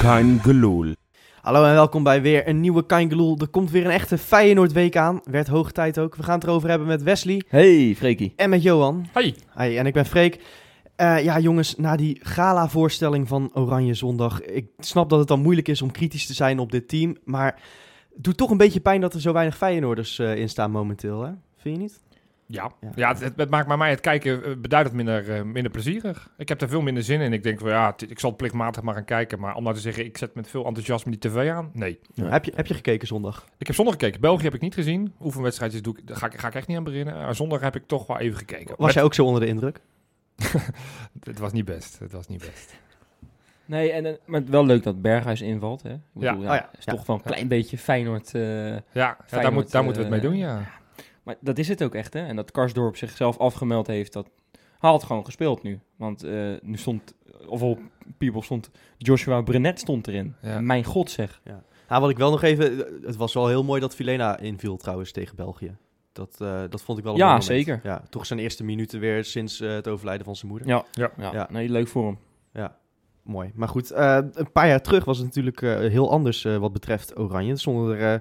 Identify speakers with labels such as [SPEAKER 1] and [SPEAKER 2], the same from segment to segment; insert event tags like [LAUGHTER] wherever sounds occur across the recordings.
[SPEAKER 1] Kein Geloel.
[SPEAKER 2] Hallo en welkom bij weer een nieuwe Kaingeloel. Er komt weer een echte Feyenoord week aan. Werd hoog tijd ook. We gaan het erover hebben met Wesley
[SPEAKER 3] Hey, Freekie.
[SPEAKER 2] en met Johan.
[SPEAKER 4] Hoi.
[SPEAKER 2] Hi, en ik ben Freek. Eh, ja jongens, na die gala voorstelling van Oranje Zondag. Ik snap dat het dan moeilijk is om kritisch te zijn op dit team. Maar het doet toch een beetje pijn dat er zo weinig Feyenoorders eh, in staan momenteel. Hè? Vind je niet?
[SPEAKER 4] Ja,
[SPEAKER 2] Ja.
[SPEAKER 4] ja. het, het- het maakt bij mij het kijken eh, beduidend minder, eh, minder plezierig. Ik heb er veel minder zin in. Ik denk van ja, het- ik zal het plichtmatig maar gaan kijken. Maar om nou te zeggen, ik zet met veel enthousiasme die tv aan. Nee.
[SPEAKER 3] Ja.
[SPEAKER 2] Heb, je, heb je gekeken zondag?
[SPEAKER 4] Ik heb zondag gekeken. België heb ik niet gezien. Oefenwedstrijdjes doe ik, daar ga, ik- ga ik echt niet aan beginnen. Maar zondag heb ik toch wel even gekeken.
[SPEAKER 2] Was jij ook zo onder de indruk?
[SPEAKER 4] Met- Het was niet best. Het was niet best.
[SPEAKER 3] Nee, en, en- maar wel leuk dat Berghuis invalt. Hè? Ik bedoel,
[SPEAKER 2] Ja. Oh ja,
[SPEAKER 3] is
[SPEAKER 2] ja.
[SPEAKER 3] toch wel een klein beetje Feyenoord. eh,
[SPEAKER 4] Ja, ja daar,
[SPEAKER 3] Feyenoord,
[SPEAKER 4] moet, daar moeten we het mee
[SPEAKER 3] eh,
[SPEAKER 4] doen, ja.
[SPEAKER 3] maar dat is het ook echt. Hè? En dat Karsdorp zichzelf afgemeld heeft, dat hij had gewoon gespeeld nu. Want eh, nu stond, of op People stond, Joshua Brenet stond erin.
[SPEAKER 4] Ja.
[SPEAKER 3] Mijn god zeg.
[SPEAKER 2] Ja, wat ik wel nog even... Het was wel heel mooi dat Vilena inviel trouwens tegen België. Dat, eh, dat vond ik wel een
[SPEAKER 3] Ja,
[SPEAKER 2] mooi moment.
[SPEAKER 3] zeker.
[SPEAKER 2] Ja, toch zijn eerste minuten weer sinds eh, het overlijden van zijn moeder.
[SPEAKER 3] Ja, ja.
[SPEAKER 4] Ja.
[SPEAKER 2] Ja.
[SPEAKER 3] Nee, leuk voor hem.
[SPEAKER 2] Mooi. Maar goed, eh, een paar jaar terug was het natuurlijk eh, heel anders eh, wat betreft Oranje. Er stonden er eh,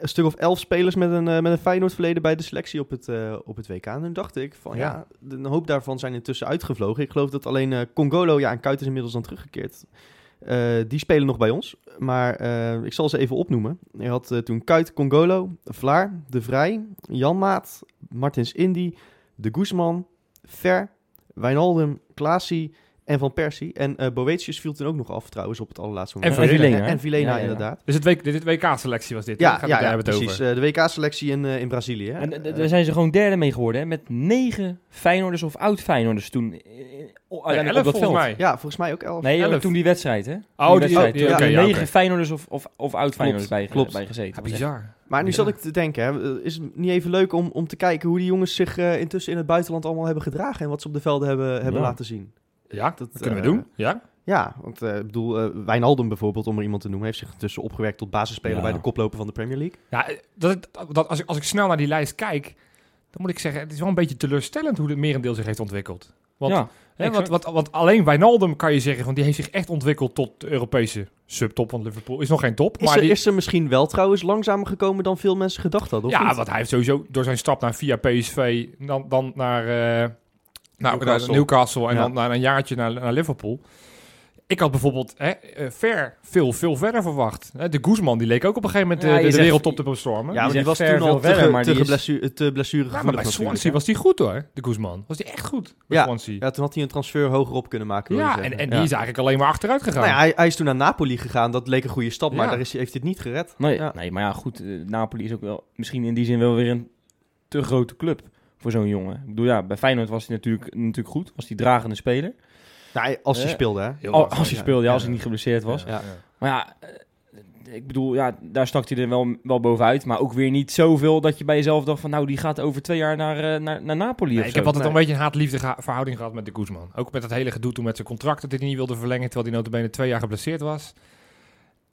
[SPEAKER 2] een stuk of elf spelers met een, eh, met een Feyenoord verleden bij de selectie op het, eh, op het WK. En toen dacht ik van ja. een hoop daarvan zijn intussen uitgevlogen. Ik geloof dat alleen eh, Congolo, ja en Kuit is inmiddels dan teruggekeerd. Eh, die spelen nog bij ons, maar eh, ik zal ze even opnoemen. Je had eh, toen Kuit, Congolo, Vlaar, De Vrij, Janmaat, Martins Indy, De Guzman, Ver, Wijnaldum, Klaasie, en van Persie. En eh Boetius viel toen ook nog af trouwens op het allerlaatste moment.
[SPEAKER 4] En Vilena.
[SPEAKER 2] En, en Vilena,
[SPEAKER 3] Ja, ja, ja.
[SPEAKER 2] inderdaad.
[SPEAKER 4] Dus het week, dit, dit WK-selectie was dit. hè?
[SPEAKER 2] Ja,
[SPEAKER 4] Gaat
[SPEAKER 2] ja,
[SPEAKER 4] het daar
[SPEAKER 2] ja,
[SPEAKER 4] hebben we
[SPEAKER 2] precies.
[SPEAKER 4] het over.
[SPEAKER 2] Eh, de WK-selectie in, eh, in Brazilië. Hè?
[SPEAKER 3] En d- d-
[SPEAKER 2] Eh,
[SPEAKER 3] daar zijn ze gewoon derde mee geworden. Hè? Met negen Feyenoorders of oud-Feyenoorders toen. eh, eh, o-
[SPEAKER 4] Nee,
[SPEAKER 3] uiteindelijk
[SPEAKER 4] elf Oh,
[SPEAKER 3] op dat
[SPEAKER 4] volgens
[SPEAKER 3] veld.
[SPEAKER 4] mij.
[SPEAKER 2] ja, volgens mij ook elf.
[SPEAKER 3] Nee,
[SPEAKER 4] Elf.
[SPEAKER 3] maar toen die wedstrijd, hè? Toen
[SPEAKER 4] Oh, die-
[SPEAKER 3] wedstrijd.
[SPEAKER 4] oh, die-
[SPEAKER 3] Toen
[SPEAKER 2] oké,
[SPEAKER 3] er
[SPEAKER 4] ja, oké.
[SPEAKER 3] negen Feyenoorders of, of, of oud-Feyenoorders bij,
[SPEAKER 2] klopt.
[SPEAKER 3] bij gezeten.
[SPEAKER 4] Ja,
[SPEAKER 3] Dat was
[SPEAKER 4] bizar.
[SPEAKER 2] maar nu
[SPEAKER 4] Ja.
[SPEAKER 2] zat ik te denken, hè, eh, is het niet even leuk om, om te kijken hoe die jongens zich eh, intussen in het buitenland allemaal hebben gedragen en wat ze op de velden hebben, hebben
[SPEAKER 3] Ja.
[SPEAKER 2] laten zien?
[SPEAKER 4] Ja,
[SPEAKER 2] Dat,
[SPEAKER 4] dat kunnen
[SPEAKER 2] eh,
[SPEAKER 4] we doen. Ja.
[SPEAKER 2] Ja, want eh, ik bedoel, eh, Wijnaldum bijvoorbeeld, om er iemand te noemen, heeft zich intussen opgewerkt tot basisspeler
[SPEAKER 3] Ja.
[SPEAKER 2] bij de koploper van de Premier League.
[SPEAKER 4] Ja, eh, dat, dat, als, ik, als ik snel naar die lijst kijk, dan moet ik zeggen, het is wel een beetje teleurstellend hoe het merendeel zich heeft ontwikkeld. Want,
[SPEAKER 3] echt-
[SPEAKER 4] hè, want, want, want alleen Wijnaldum kan je zeggen, want die heeft zich echt ontwikkeld tot de Europese subtop, want Liverpool is nog geen top.
[SPEAKER 2] Is,
[SPEAKER 4] Maar
[SPEAKER 2] er,
[SPEAKER 4] die,
[SPEAKER 2] is er misschien wel trouwens langzamer gekomen dan veel mensen gedacht hadden? Of
[SPEAKER 4] ja,
[SPEAKER 2] niet?
[SPEAKER 4] want hij heeft sowieso door zijn stap naar via PSV, dan, dan naar, eh, naar naar
[SPEAKER 2] Newcastle.
[SPEAKER 4] Newcastle. en
[SPEAKER 2] Ja.
[SPEAKER 4] dan na een jaartje naar, naar Liverpool. Ik had bijvoorbeeld hè, eh, ver, veel, veel verder verwacht. Hè, De Guzman, die leek ook op een gegeven moment
[SPEAKER 3] Ja,
[SPEAKER 4] eh,
[SPEAKER 3] je
[SPEAKER 4] de, de
[SPEAKER 3] zegt-
[SPEAKER 4] wereldtop te bestormen.
[SPEAKER 2] Ja, maar
[SPEAKER 3] Die
[SPEAKER 2] die was
[SPEAKER 3] zegt
[SPEAKER 2] toen
[SPEAKER 3] ver
[SPEAKER 2] al
[SPEAKER 3] veel
[SPEAKER 2] te,
[SPEAKER 3] verder,
[SPEAKER 2] ge-
[SPEAKER 3] maar
[SPEAKER 2] te,
[SPEAKER 3] die is-
[SPEAKER 2] geblessu- te blessure
[SPEAKER 4] Ja, maar bij Swansea was die goed hoor, de Guzman. Was die echt goed bij Swansea. Ja,
[SPEAKER 2] Ja, toen had hij een transfer hoger op kunnen maken. wil je
[SPEAKER 4] en,
[SPEAKER 2] zeggen.
[SPEAKER 4] en
[SPEAKER 3] Ja.
[SPEAKER 4] die is eigenlijk alleen maar achteruit gegaan.
[SPEAKER 2] Nou ja, hij, hij is toen naar Napoli gegaan. Dat leek een goede stap, maar
[SPEAKER 4] Ja.
[SPEAKER 2] daar is, hij- heeft hij het niet gered.
[SPEAKER 3] Nee,
[SPEAKER 2] Ja.
[SPEAKER 3] nee, maar ja, goed. eh, Napoli is ook wel misschien in die zin wel weer een te grote club voor zo'n jongen. Ik bedoel, ja, bij Feyenoord was hij natuurlijk, natuurlijk goed. Was hij dragende speler.
[SPEAKER 2] Nou, hij- als hij
[SPEAKER 3] Eh,
[SPEAKER 2] speelde, hè.
[SPEAKER 4] Heel
[SPEAKER 3] Al-
[SPEAKER 4] lastig,
[SPEAKER 3] als hij
[SPEAKER 4] ja.
[SPEAKER 3] speelde, ja, als
[SPEAKER 4] Ja.
[SPEAKER 3] hij niet geblesseerd was.
[SPEAKER 2] Ja.
[SPEAKER 3] Maar ja, eh, ik bedoel, ja, daar stak hij er wel, wel bovenuit. Maar ook weer niet zoveel dat je bij jezelf dacht van... nou, die gaat over twee jaar naar, eh, naar, naar Napoli
[SPEAKER 4] Nee,
[SPEAKER 3] of
[SPEAKER 4] ik
[SPEAKER 3] zo.
[SPEAKER 4] heb altijd een beetje een haat-liefde geha- verhouding gehad met de Guzman. Ook met dat hele gedoe toen met zijn contract dat hij die niet wilde verlengen, terwijl hij notabene twee jaar geblesseerd was.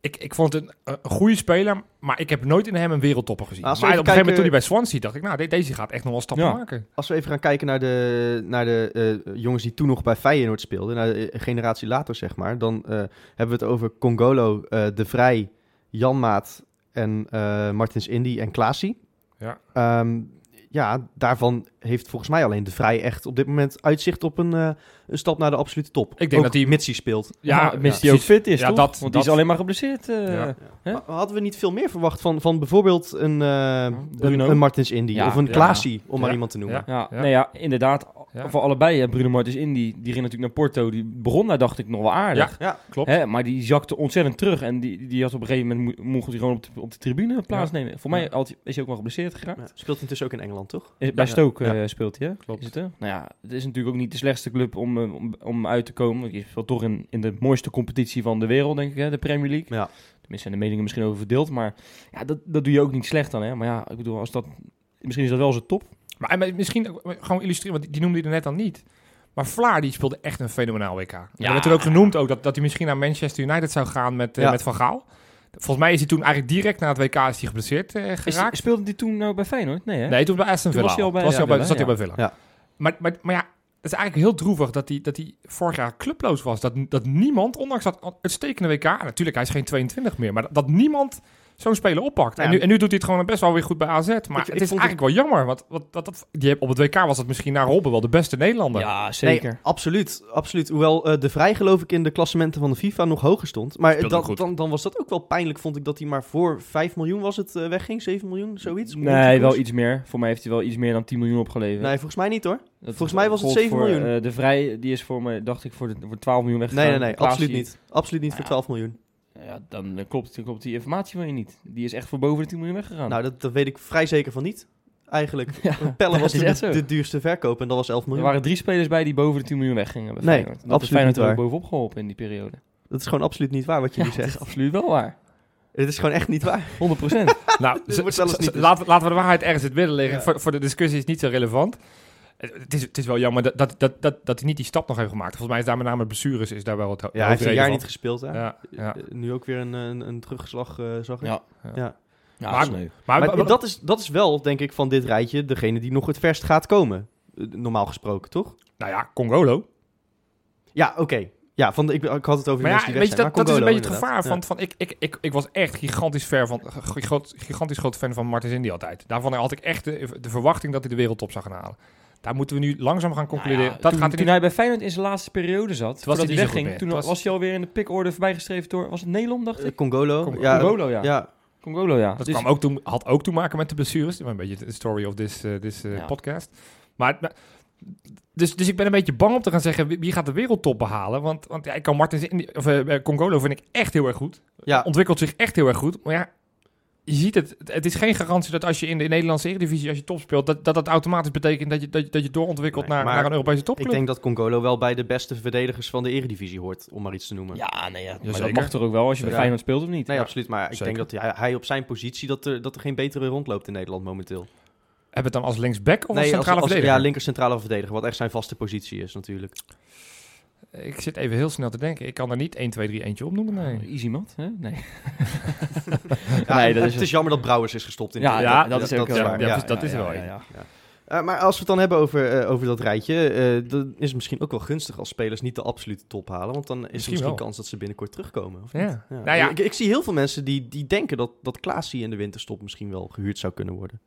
[SPEAKER 4] Ik, ik vond het een, een goede speler, maar ik heb nooit in hem een wereldtopper gezien.
[SPEAKER 2] Nou, als we
[SPEAKER 4] maar op een
[SPEAKER 2] even
[SPEAKER 4] gegeven moment toen hij
[SPEAKER 2] kijken-
[SPEAKER 4] bij Swansea dacht ik, nou, de- deze gaat echt nog wel stappen
[SPEAKER 3] Ja.
[SPEAKER 4] maken.
[SPEAKER 2] Als we even gaan kijken naar de, naar de eh, jongens die toen nog bij Feyenoord speelden. Naar de eh, generatie later, zeg maar. Dan eh, hebben we het over Congolo, eh, De Vrij, Janmaat en eh, Martins Indy en Klaasie.
[SPEAKER 4] Ja.
[SPEAKER 2] Ehm, ja, daarvan heeft volgens mij alleen De Vrij echt op dit moment uitzicht op een, eh, een stap naar de absolute top.
[SPEAKER 4] Ik denk
[SPEAKER 2] Ook
[SPEAKER 4] dat hij-
[SPEAKER 2] Mitsi speelt.
[SPEAKER 3] Ja,
[SPEAKER 4] ja,
[SPEAKER 3] mits die ook fit is,
[SPEAKER 4] Ja,
[SPEAKER 3] toch?
[SPEAKER 4] dat-
[SPEAKER 3] Want die
[SPEAKER 4] dat-
[SPEAKER 3] is alleen maar geblesseerd. eh,
[SPEAKER 4] Ja.
[SPEAKER 3] Hè?
[SPEAKER 2] Maar hadden we niet veel meer verwacht van, van bijvoorbeeld een, eh een,
[SPEAKER 3] Bruno?
[SPEAKER 2] een Martins Indy
[SPEAKER 3] Ja,
[SPEAKER 2] of een
[SPEAKER 4] ja.
[SPEAKER 2] Klaasie, om maar
[SPEAKER 4] Ja,
[SPEAKER 2] iemand te noemen.
[SPEAKER 4] ja.
[SPEAKER 3] Ja, nee, ja inderdaad.
[SPEAKER 4] Ja.
[SPEAKER 3] Voor allebei. Hè. Bruno Martens Indy, die ging natuurlijk naar Porto. Die begon daar, dacht ik, nog wel aardig.
[SPEAKER 2] Ja.
[SPEAKER 4] klopt.
[SPEAKER 3] Hè, maar die zakte ontzettend terug. En die, die had op een gegeven moment... mo- mocht hij gewoon op de, op de tribune plaatsnemen. Voor mij
[SPEAKER 4] Ja.
[SPEAKER 3] had hij- is hij ook wel geblesseerd geraakt.
[SPEAKER 2] Ja. Speelt intussen ook in Engeland, toch?
[SPEAKER 3] Is- Bij
[SPEAKER 2] Ja.
[SPEAKER 3] Stoke
[SPEAKER 4] Ja.
[SPEAKER 3] eh, speelt hij, hè?
[SPEAKER 4] Klopt.
[SPEAKER 3] Is het, hè? Nou ja, het is natuurlijk ook niet de slechtste club om, eh, om, om uit te komen. Je speelt toch in, in de mooiste competitie van de wereld, denk ik, hè? de Premier League.
[SPEAKER 2] Ja.
[SPEAKER 3] Tenminste zijn de meningen misschien over verdeeld, maar ja, dat, dat doe je ook niet slecht dan, hè? Maar ja, ik bedoel, als dat, misschien is dat wel zijn top.
[SPEAKER 4] Maar, en maar misschien ook eh, gewoon illustreren, want die- die noemde je er net al niet. Maar Vlaar die speelde echt een fenomenaal WK. Ja. Er werd toen ook genoemd ook dat, dat hij misschien naar Manchester United zou gaan met, eh,
[SPEAKER 2] Ja.
[SPEAKER 4] met Van Gaal. Volgens mij is hij toen eigenlijk direct na het WK is hij geblesseerd eh,
[SPEAKER 3] Is,
[SPEAKER 4] geraakt.
[SPEAKER 3] speelde die toen nou bij Feyenoord? Nee, hè?
[SPEAKER 4] Nee, toen bij Aston
[SPEAKER 3] Toen
[SPEAKER 4] Villa.
[SPEAKER 3] was hij al bij-
[SPEAKER 4] Toen was hij al bij,
[SPEAKER 3] ja,
[SPEAKER 4] zat hij
[SPEAKER 3] Villa,
[SPEAKER 4] bij Villa.
[SPEAKER 2] ja.
[SPEAKER 4] Maar, maar, maar ja, Het is eigenlijk heel droevig dat hij, dat hij vorig jaar clubloos was. Dat, dat niemand, ondanks dat uitstekende WK... en Natuurlijk, hij is geen 22 meer. Maar dat, dat niemand zo'n speler oppakt.
[SPEAKER 2] Ja.
[SPEAKER 4] En, nu, en nu doet hij het gewoon best wel weer goed bij AZ. Maar
[SPEAKER 2] ik
[SPEAKER 4] het is
[SPEAKER 2] vond
[SPEAKER 4] eigenlijk wel jammer. Want, want, dat- dat, die heb- op het WK was dat misschien naar Robben wel de beste Nederlander.
[SPEAKER 3] Ja,
[SPEAKER 2] Nee, absoluut, absoluut. Hoewel eh, De Vrij geloof ik in de klassementen van de FIFA nog hoger stond. Maar
[SPEAKER 4] Speelde
[SPEAKER 2] dan-
[SPEAKER 4] goed.
[SPEAKER 2] dan, dan was dat ook wel pijnlijk, vond ik, dat hij maar voor 5 miljoen was het eh, wegging. 7 miljoen, zoiets. Om die
[SPEAKER 3] Nee, wel
[SPEAKER 2] koers.
[SPEAKER 3] iets meer. Voor mij heeft hij wel iets meer dan 10 miljoen opgeleverd.
[SPEAKER 2] Nee, volgens mij niet hoor.
[SPEAKER 3] Dat
[SPEAKER 2] volgens mij was het
[SPEAKER 3] gold
[SPEAKER 2] 7
[SPEAKER 3] voor,
[SPEAKER 2] miljoen.
[SPEAKER 3] eh, de Vrij, die is voor me, dacht ik, voor, de, voor 12 miljoen weggegaan.
[SPEAKER 2] Nee, nee, nee,
[SPEAKER 3] Klaas,
[SPEAKER 2] absoluut
[SPEAKER 3] die-
[SPEAKER 2] niet. Absoluut niet
[SPEAKER 3] Nou
[SPEAKER 2] voor
[SPEAKER 3] ja.
[SPEAKER 2] 12 miljoen.
[SPEAKER 3] Ja, dan eh, klopt, dan klopt die informatie van je niet. Die is echt voor boven de 10 miljoen weggegaan.
[SPEAKER 2] Nou, dat, dat weet ik vrij zeker van niet. Eigenlijk.
[SPEAKER 3] Oh. [LAUGHS] Ja,
[SPEAKER 2] Want Pelle
[SPEAKER 3] dat
[SPEAKER 2] was
[SPEAKER 3] is
[SPEAKER 2] toen
[SPEAKER 3] echt
[SPEAKER 2] de,
[SPEAKER 3] zo.
[SPEAKER 2] de duurste verkoop en dat was 11
[SPEAKER 3] er
[SPEAKER 2] miljoen.
[SPEAKER 3] waren drie spelers bij die boven de 10 miljoen weggingen. Bij
[SPEAKER 2] Nee,
[SPEAKER 3] Feyenoord. Dat
[SPEAKER 2] absoluut
[SPEAKER 3] is Feyenoord
[SPEAKER 2] niet
[SPEAKER 3] er ook
[SPEAKER 2] waar.
[SPEAKER 3] bovenop geholpen in die periode.
[SPEAKER 2] Dat is gewoon absoluut niet waar wat je
[SPEAKER 3] Ja,
[SPEAKER 2] nu
[SPEAKER 3] dat
[SPEAKER 2] zegt.
[SPEAKER 3] is absoluut wel
[SPEAKER 2] [LAUGHS]
[SPEAKER 3] waar.
[SPEAKER 2] Het is gewoon echt niet waar.
[SPEAKER 3] 100
[SPEAKER 2] [LAUGHS]
[SPEAKER 4] Nou,
[SPEAKER 2] Dit
[SPEAKER 4] z-
[SPEAKER 2] wordt
[SPEAKER 4] z-
[SPEAKER 2] zelfs
[SPEAKER 4] z-
[SPEAKER 2] niet eens.
[SPEAKER 4] laten, laten we de waarheid ergens in het midden liggen.
[SPEAKER 2] Ja.
[SPEAKER 4] Voor, voor de discussie is het niet zo relevant. Het het is, het is wel jammer dat, dat, dat, dat, dat hij niet die stap nog heeft gemaakt. Volgens mij is daar met name blessures is daar wel wat ho-
[SPEAKER 2] Ja, hij heeft een jaar niet
[SPEAKER 4] hoofdreden
[SPEAKER 2] gespeeld. Hè?
[SPEAKER 4] van. Ja, ja.
[SPEAKER 2] Eh, Nu ook weer een, een, een terugslag, eh, zag ik.
[SPEAKER 3] Ja.
[SPEAKER 4] Maar-
[SPEAKER 3] Ja, nee.
[SPEAKER 4] Maar,
[SPEAKER 2] Maar
[SPEAKER 4] wa- wa-
[SPEAKER 2] dat, is, dat is wel, denk ik, van dit rijtje degene die nog het verst gaat komen. Eh, Normaal gesproken, toch?
[SPEAKER 4] nou ja, Congolo.
[SPEAKER 2] Ja, oké. Ja, van de, ik, ik had het over de
[SPEAKER 4] Maar ja,
[SPEAKER 2] mensen die weg
[SPEAKER 4] weet je,
[SPEAKER 2] zijn,
[SPEAKER 4] dat,
[SPEAKER 2] maar
[SPEAKER 4] dat is een
[SPEAKER 2] Congolo
[SPEAKER 4] beetje het gevaar.
[SPEAKER 2] inderdaad.
[SPEAKER 4] Van, van, ik, ik, ik, ik was echt gigantisch, ver van, g- groot, gigantisch groot fan van Martens Indy altijd. Daarvan had ik echt de, de verwachting dat hij de wereldtop zou gaan halen. Daar moeten we nu langzaam gaan concluderen.
[SPEAKER 3] Nou ja,
[SPEAKER 4] dat
[SPEAKER 3] toen,
[SPEAKER 4] gaat hij
[SPEAKER 3] toen
[SPEAKER 4] niet...
[SPEAKER 3] hij bij Feyenoord in zijn laatste periode zat,
[SPEAKER 4] hij
[SPEAKER 3] voordat
[SPEAKER 4] niet zo
[SPEAKER 3] hij
[SPEAKER 4] goed meer.
[SPEAKER 3] wegging, toen
[SPEAKER 4] Toen
[SPEAKER 3] was...
[SPEAKER 4] was-
[SPEAKER 3] hij alweer in de pickorde voorbijgestreven door, was het Nederland, dacht
[SPEAKER 2] Ja. Eh,
[SPEAKER 3] ik?
[SPEAKER 2] Congolo.
[SPEAKER 4] Congolo.
[SPEAKER 2] Ja,
[SPEAKER 3] Congolo, ja.
[SPEAKER 2] ja. ja.
[SPEAKER 3] Congolo, ja.
[SPEAKER 4] Dat
[SPEAKER 3] Dus-
[SPEAKER 4] kwam ook toen, had ook te maken met de blessures. Maar Een beetje de story of this, eh, this eh,
[SPEAKER 3] Ja.
[SPEAKER 4] podcast. Maar, maar- dus, dus ik ben een beetje bang om te gaan zeggen wie, wie gaat de wereldtop behalen. Want, want ja, ik kan Martens in of eh, eh, Congolo vind ik echt heel erg goed.
[SPEAKER 2] Ja.
[SPEAKER 4] Ontwikkelt zich echt heel erg goed. Maar ja, je ziet het. Het- Het is geen garantie dat als je in de Nederlandse Eredivisie als je top speelt, dat dat, dat automatisch betekent dat je, dat, je- dat je doorontwikkelt
[SPEAKER 2] Nee,
[SPEAKER 4] naar,
[SPEAKER 2] maar
[SPEAKER 4] naar een Europese
[SPEAKER 2] Ik
[SPEAKER 4] topclub.
[SPEAKER 2] denk dat Congolo wel bij de beste verdedigers van de eredivisie hoort, om maar iets te noemen.
[SPEAKER 3] Ja, nee, ja. maar
[SPEAKER 4] zeker.
[SPEAKER 3] Dus dat mag toch ook wel als je bij
[SPEAKER 2] Ja.
[SPEAKER 3] Feyenoord speelt of niet?
[SPEAKER 2] Nee,
[SPEAKER 4] Ja,
[SPEAKER 2] absoluut. Maar ik
[SPEAKER 4] zeker.
[SPEAKER 2] denk dat hij, hij op zijn positie dat er, dat er geen betere rondloopt in Nederland momenteel.
[SPEAKER 4] Heb het dan als linksback of
[SPEAKER 2] nee,
[SPEAKER 4] als centrale
[SPEAKER 2] als, als,
[SPEAKER 4] verdediger?
[SPEAKER 2] Ja, linker centrale verdediger, wat echt zijn vaste positie is
[SPEAKER 4] [LAUGHS]
[SPEAKER 2] natuurlijk.
[SPEAKER 4] ik zit even heel snel te denken. Ik kan er niet 1, 2, 3 eentje opnoemen. Nee.
[SPEAKER 3] Easy mat, hè? Nee.
[SPEAKER 2] Ja,
[SPEAKER 3] Nee, dat is
[SPEAKER 2] het
[SPEAKER 3] het.
[SPEAKER 2] is jammer dat Brouwers is gestopt. In
[SPEAKER 3] Ja,
[SPEAKER 2] de-
[SPEAKER 3] ja, dat is ook wel
[SPEAKER 4] ja,
[SPEAKER 3] waar.
[SPEAKER 4] ja,
[SPEAKER 3] Ja,
[SPEAKER 4] dus dat
[SPEAKER 3] ja,
[SPEAKER 4] is er wel
[SPEAKER 3] ja,
[SPEAKER 4] één.
[SPEAKER 3] ja.
[SPEAKER 2] Eh, maar als we het dan hebben over, eh, over dat rijtje, eh dan is het misschien ook wel gunstig als spelers niet de absolute top halen. Want dan is
[SPEAKER 4] Misschien
[SPEAKER 2] er misschien
[SPEAKER 4] wel.
[SPEAKER 2] kans dat ze binnenkort terugkomen. Of niet?
[SPEAKER 4] Ja.
[SPEAKER 2] Ja.
[SPEAKER 4] Nou ja.
[SPEAKER 2] Ik, ik zie heel veel mensen die, die denken dat, dat Klaasie in de winterstop misschien wel gehuurd zou kunnen worden.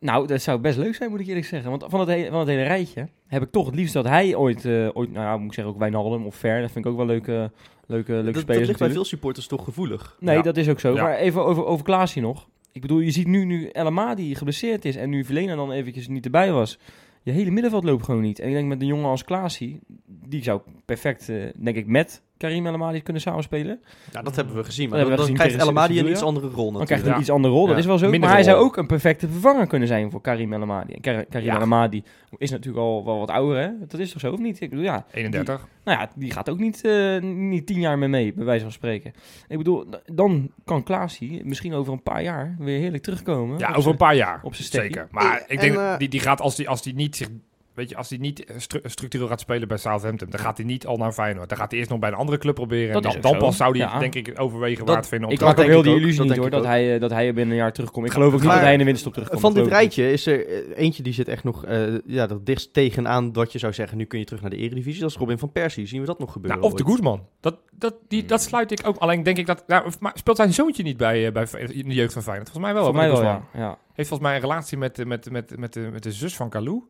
[SPEAKER 3] Nou, dat zou best leuk zijn, moet ik eerlijk zeggen. Want van het, hele, van het hele rijtje heb ik toch het liefst dat hij ooit, eh, ooit nou ja, moet ik zeggen, ook Wijnaldum of Ver. Dat vind ik ook wel leuke, leuke, leuke
[SPEAKER 2] Dat, dat ligt
[SPEAKER 3] spelers
[SPEAKER 2] bij
[SPEAKER 3] natuurlijk.
[SPEAKER 2] veel supporters toch gevoelig.
[SPEAKER 3] Nee,
[SPEAKER 4] Ja.
[SPEAKER 3] dat is ook zo.
[SPEAKER 4] Ja.
[SPEAKER 3] Maar even over, over Klaasje nog. Ik bedoel, je ziet nu, nu LMA die geblesseerd is en nu Vilena dan eventjes niet erbij was. Je hele middenveld loopt gewoon niet. En ik denk met een jongen als Klaasie, die zou perfect, eh, denk ik, met Karim LMA die kunnen samenspelen.
[SPEAKER 2] Ja, nou, dat hebben we gezien. Maar
[SPEAKER 3] Dat
[SPEAKER 2] dan,
[SPEAKER 3] hebben we
[SPEAKER 2] dan
[SPEAKER 3] gezien
[SPEAKER 2] krijgt
[SPEAKER 3] tegen
[SPEAKER 2] Elamadi een
[SPEAKER 3] Sevilla.
[SPEAKER 2] iets andere rol
[SPEAKER 3] Dan
[SPEAKER 2] natuurlijk.
[SPEAKER 3] krijgt hij
[SPEAKER 4] Ja.
[SPEAKER 3] een iets andere rol,
[SPEAKER 2] Ja.
[SPEAKER 3] dat is wel zo.
[SPEAKER 4] Minder
[SPEAKER 3] Maar hij zou
[SPEAKER 4] rol.
[SPEAKER 3] ook een perfecte vervanger kunnen zijn voor Karim El Amadi. En Kar- Karim
[SPEAKER 4] Ja.
[SPEAKER 3] El Amadi is natuurlijk al wel wat ouder, hè? Dat is toch zo, of niet? Ik bedoel, ja.
[SPEAKER 4] 31.
[SPEAKER 3] Nou ja, die gaat ook niet, eh, niet tien jaar mee mee, bij wijze van spreken. Ik bedoel, d- dan kan Klaasie misschien over een paar jaar weer heerlijk terugkomen.
[SPEAKER 4] Ja,
[SPEAKER 3] Op
[SPEAKER 4] over
[SPEAKER 3] zijn-
[SPEAKER 4] een paar jaar.
[SPEAKER 3] op zijn stekkie.
[SPEAKER 4] Zeker. Maar
[SPEAKER 2] Eh,
[SPEAKER 4] ik denk
[SPEAKER 2] en, eh,
[SPEAKER 4] dat die, die gaat als die, als die niet zich. Weet je, als hij niet eh, stru- structureel gaat spelen bij Southampton, dan gaat hij niet al naar Feyenoord. Dan gaat hij eerst nog bij een andere club proberen.
[SPEAKER 3] Dat
[SPEAKER 4] en
[SPEAKER 3] is
[SPEAKER 4] dan,
[SPEAKER 3] ook
[SPEAKER 4] dan
[SPEAKER 3] zo.
[SPEAKER 4] pas zou hij,
[SPEAKER 3] Ja.
[SPEAKER 4] denk ik, overwegen
[SPEAKER 2] Dat-
[SPEAKER 4] waar het vinden om
[SPEAKER 3] Ik
[SPEAKER 4] te
[SPEAKER 2] Dat
[SPEAKER 3] had ook
[SPEAKER 2] denk
[SPEAKER 3] heel
[SPEAKER 2] ik
[SPEAKER 3] die
[SPEAKER 2] ook,
[SPEAKER 3] illusie
[SPEAKER 2] dat
[SPEAKER 3] niet
[SPEAKER 2] denk
[SPEAKER 3] hoor,
[SPEAKER 2] ik
[SPEAKER 3] dat hij, eh, dat hij binnen een jaar terugkomt. Ik
[SPEAKER 4] Maar-
[SPEAKER 3] geloof ook niet dat
[SPEAKER 2] maar-
[SPEAKER 3] hij in de winterstop terugkomt.
[SPEAKER 2] Van
[SPEAKER 3] dat
[SPEAKER 2] dit
[SPEAKER 3] geloof ik
[SPEAKER 2] rijtje is er eh, eentje die zit echt nog eh, ja, dat dichtst tegenaan dat je zou zeggen, nu kun je terug naar de eredivisie. Dat is Robin van Persie. Zien we dat nog gebeuren?
[SPEAKER 4] Nou, of de
[SPEAKER 2] ooit?
[SPEAKER 4] Guzman. Dat, dat, die,
[SPEAKER 3] Hmm.
[SPEAKER 4] dat sluit ik ook. Alleen denk ik dat... Nou, maar speelt zijn zoontje niet bij, eh, bij Fe- in de jeugd van Feyenoord? Volgens mij Oh, wel.
[SPEAKER 3] niet. Voor
[SPEAKER 4] hoor,
[SPEAKER 3] mij
[SPEAKER 4] met
[SPEAKER 3] wel,
[SPEAKER 4] Guzman.
[SPEAKER 3] ja. ja.
[SPEAKER 4] Heeft volgens mij een relatie met, eh, met, met, met, de- met de zus van Kalou.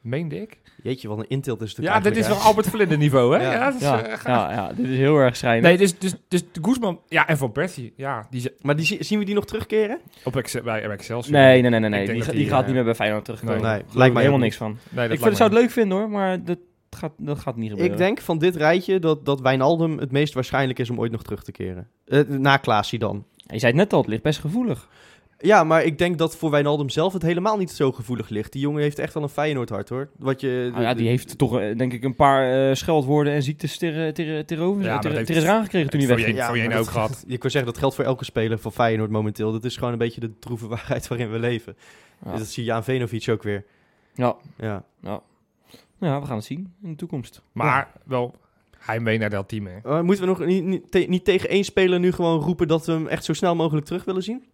[SPEAKER 4] Meende ik.
[SPEAKER 2] Jeetje, wat een intilt is het
[SPEAKER 4] Ja, dit is wel Albert Verlinde niveau, hè?
[SPEAKER 2] Ja.
[SPEAKER 4] [LAUGHS] Ja, dat is,
[SPEAKER 3] Ja,
[SPEAKER 4] eh,
[SPEAKER 3] ja, ja, dit is heel erg schrijnend.
[SPEAKER 4] Nee, dus, dus, dus de Guzman... Ja, en Van Persie. Ja, die ze-
[SPEAKER 2] Maar die, zie- zien we die nog terugkeren?
[SPEAKER 4] op Excel, bij Excelsior.
[SPEAKER 3] Nee, nee, nee, nee.
[SPEAKER 4] Ik
[SPEAKER 3] nee.
[SPEAKER 4] denk
[SPEAKER 3] Die,
[SPEAKER 4] dat
[SPEAKER 3] ga-
[SPEAKER 4] die,
[SPEAKER 3] die gaat
[SPEAKER 2] eh,
[SPEAKER 3] niet meer bij Feyenoord terugkomen.
[SPEAKER 4] Nee,
[SPEAKER 3] Nee,
[SPEAKER 2] Nee,
[SPEAKER 3] lijkt
[SPEAKER 2] lijkt mij
[SPEAKER 3] helemaal
[SPEAKER 2] ook
[SPEAKER 3] niks van.
[SPEAKER 4] Nee, dat
[SPEAKER 3] ik
[SPEAKER 4] lijkt
[SPEAKER 3] vind,
[SPEAKER 4] me
[SPEAKER 3] zou het leuk vinden hoor, maar dat gaat, dat gaat niet gebeuren.
[SPEAKER 2] Ik denk van dit rijtje dat, dat Wijnaldum het meest waarschijnlijk is om ooit nog terug te keren. Eh, na Klaasie dan.
[SPEAKER 3] Je zei het net al, het ligt best gevoelig.
[SPEAKER 2] Ja, maar ik denk dat voor Wijnaldum zelf het helemaal niet zo gevoelig ligt. Die jongen heeft echt al een Feyenoord hart hoor. Wat je,
[SPEAKER 3] Nou ja, die heeft toch eh, denk ik een paar eh, scheldwoorden en ziektes ter, eh, ter, ter, over,
[SPEAKER 4] Ja, maar
[SPEAKER 3] ter,
[SPEAKER 4] dat heeft-
[SPEAKER 3] ter is aangekregen toen hij
[SPEAKER 4] Voor
[SPEAKER 3] wegging.
[SPEAKER 4] je- voor je
[SPEAKER 2] Ja,
[SPEAKER 4] ene
[SPEAKER 2] maar
[SPEAKER 4] ook gehad.
[SPEAKER 2] Ik wil zeggen, dat geldt voor elke speler van Feyenoord momenteel. Dat is gewoon een beetje de droeve [LAUGHS] waarheid waarin we leven.
[SPEAKER 3] Ja.
[SPEAKER 2] Dus dat zie je aan Venovic ook weer.
[SPEAKER 3] Ja.
[SPEAKER 2] Ja.
[SPEAKER 3] Ja, we gaan het zien in de toekomst.
[SPEAKER 4] Maar wel heimwee naar dat team. Hè.
[SPEAKER 2] Eh, moeten we nog niet, niet, te- niet tegen één speler nu gewoon roepen dat we hem echt zo snel mogelijk terug willen zien?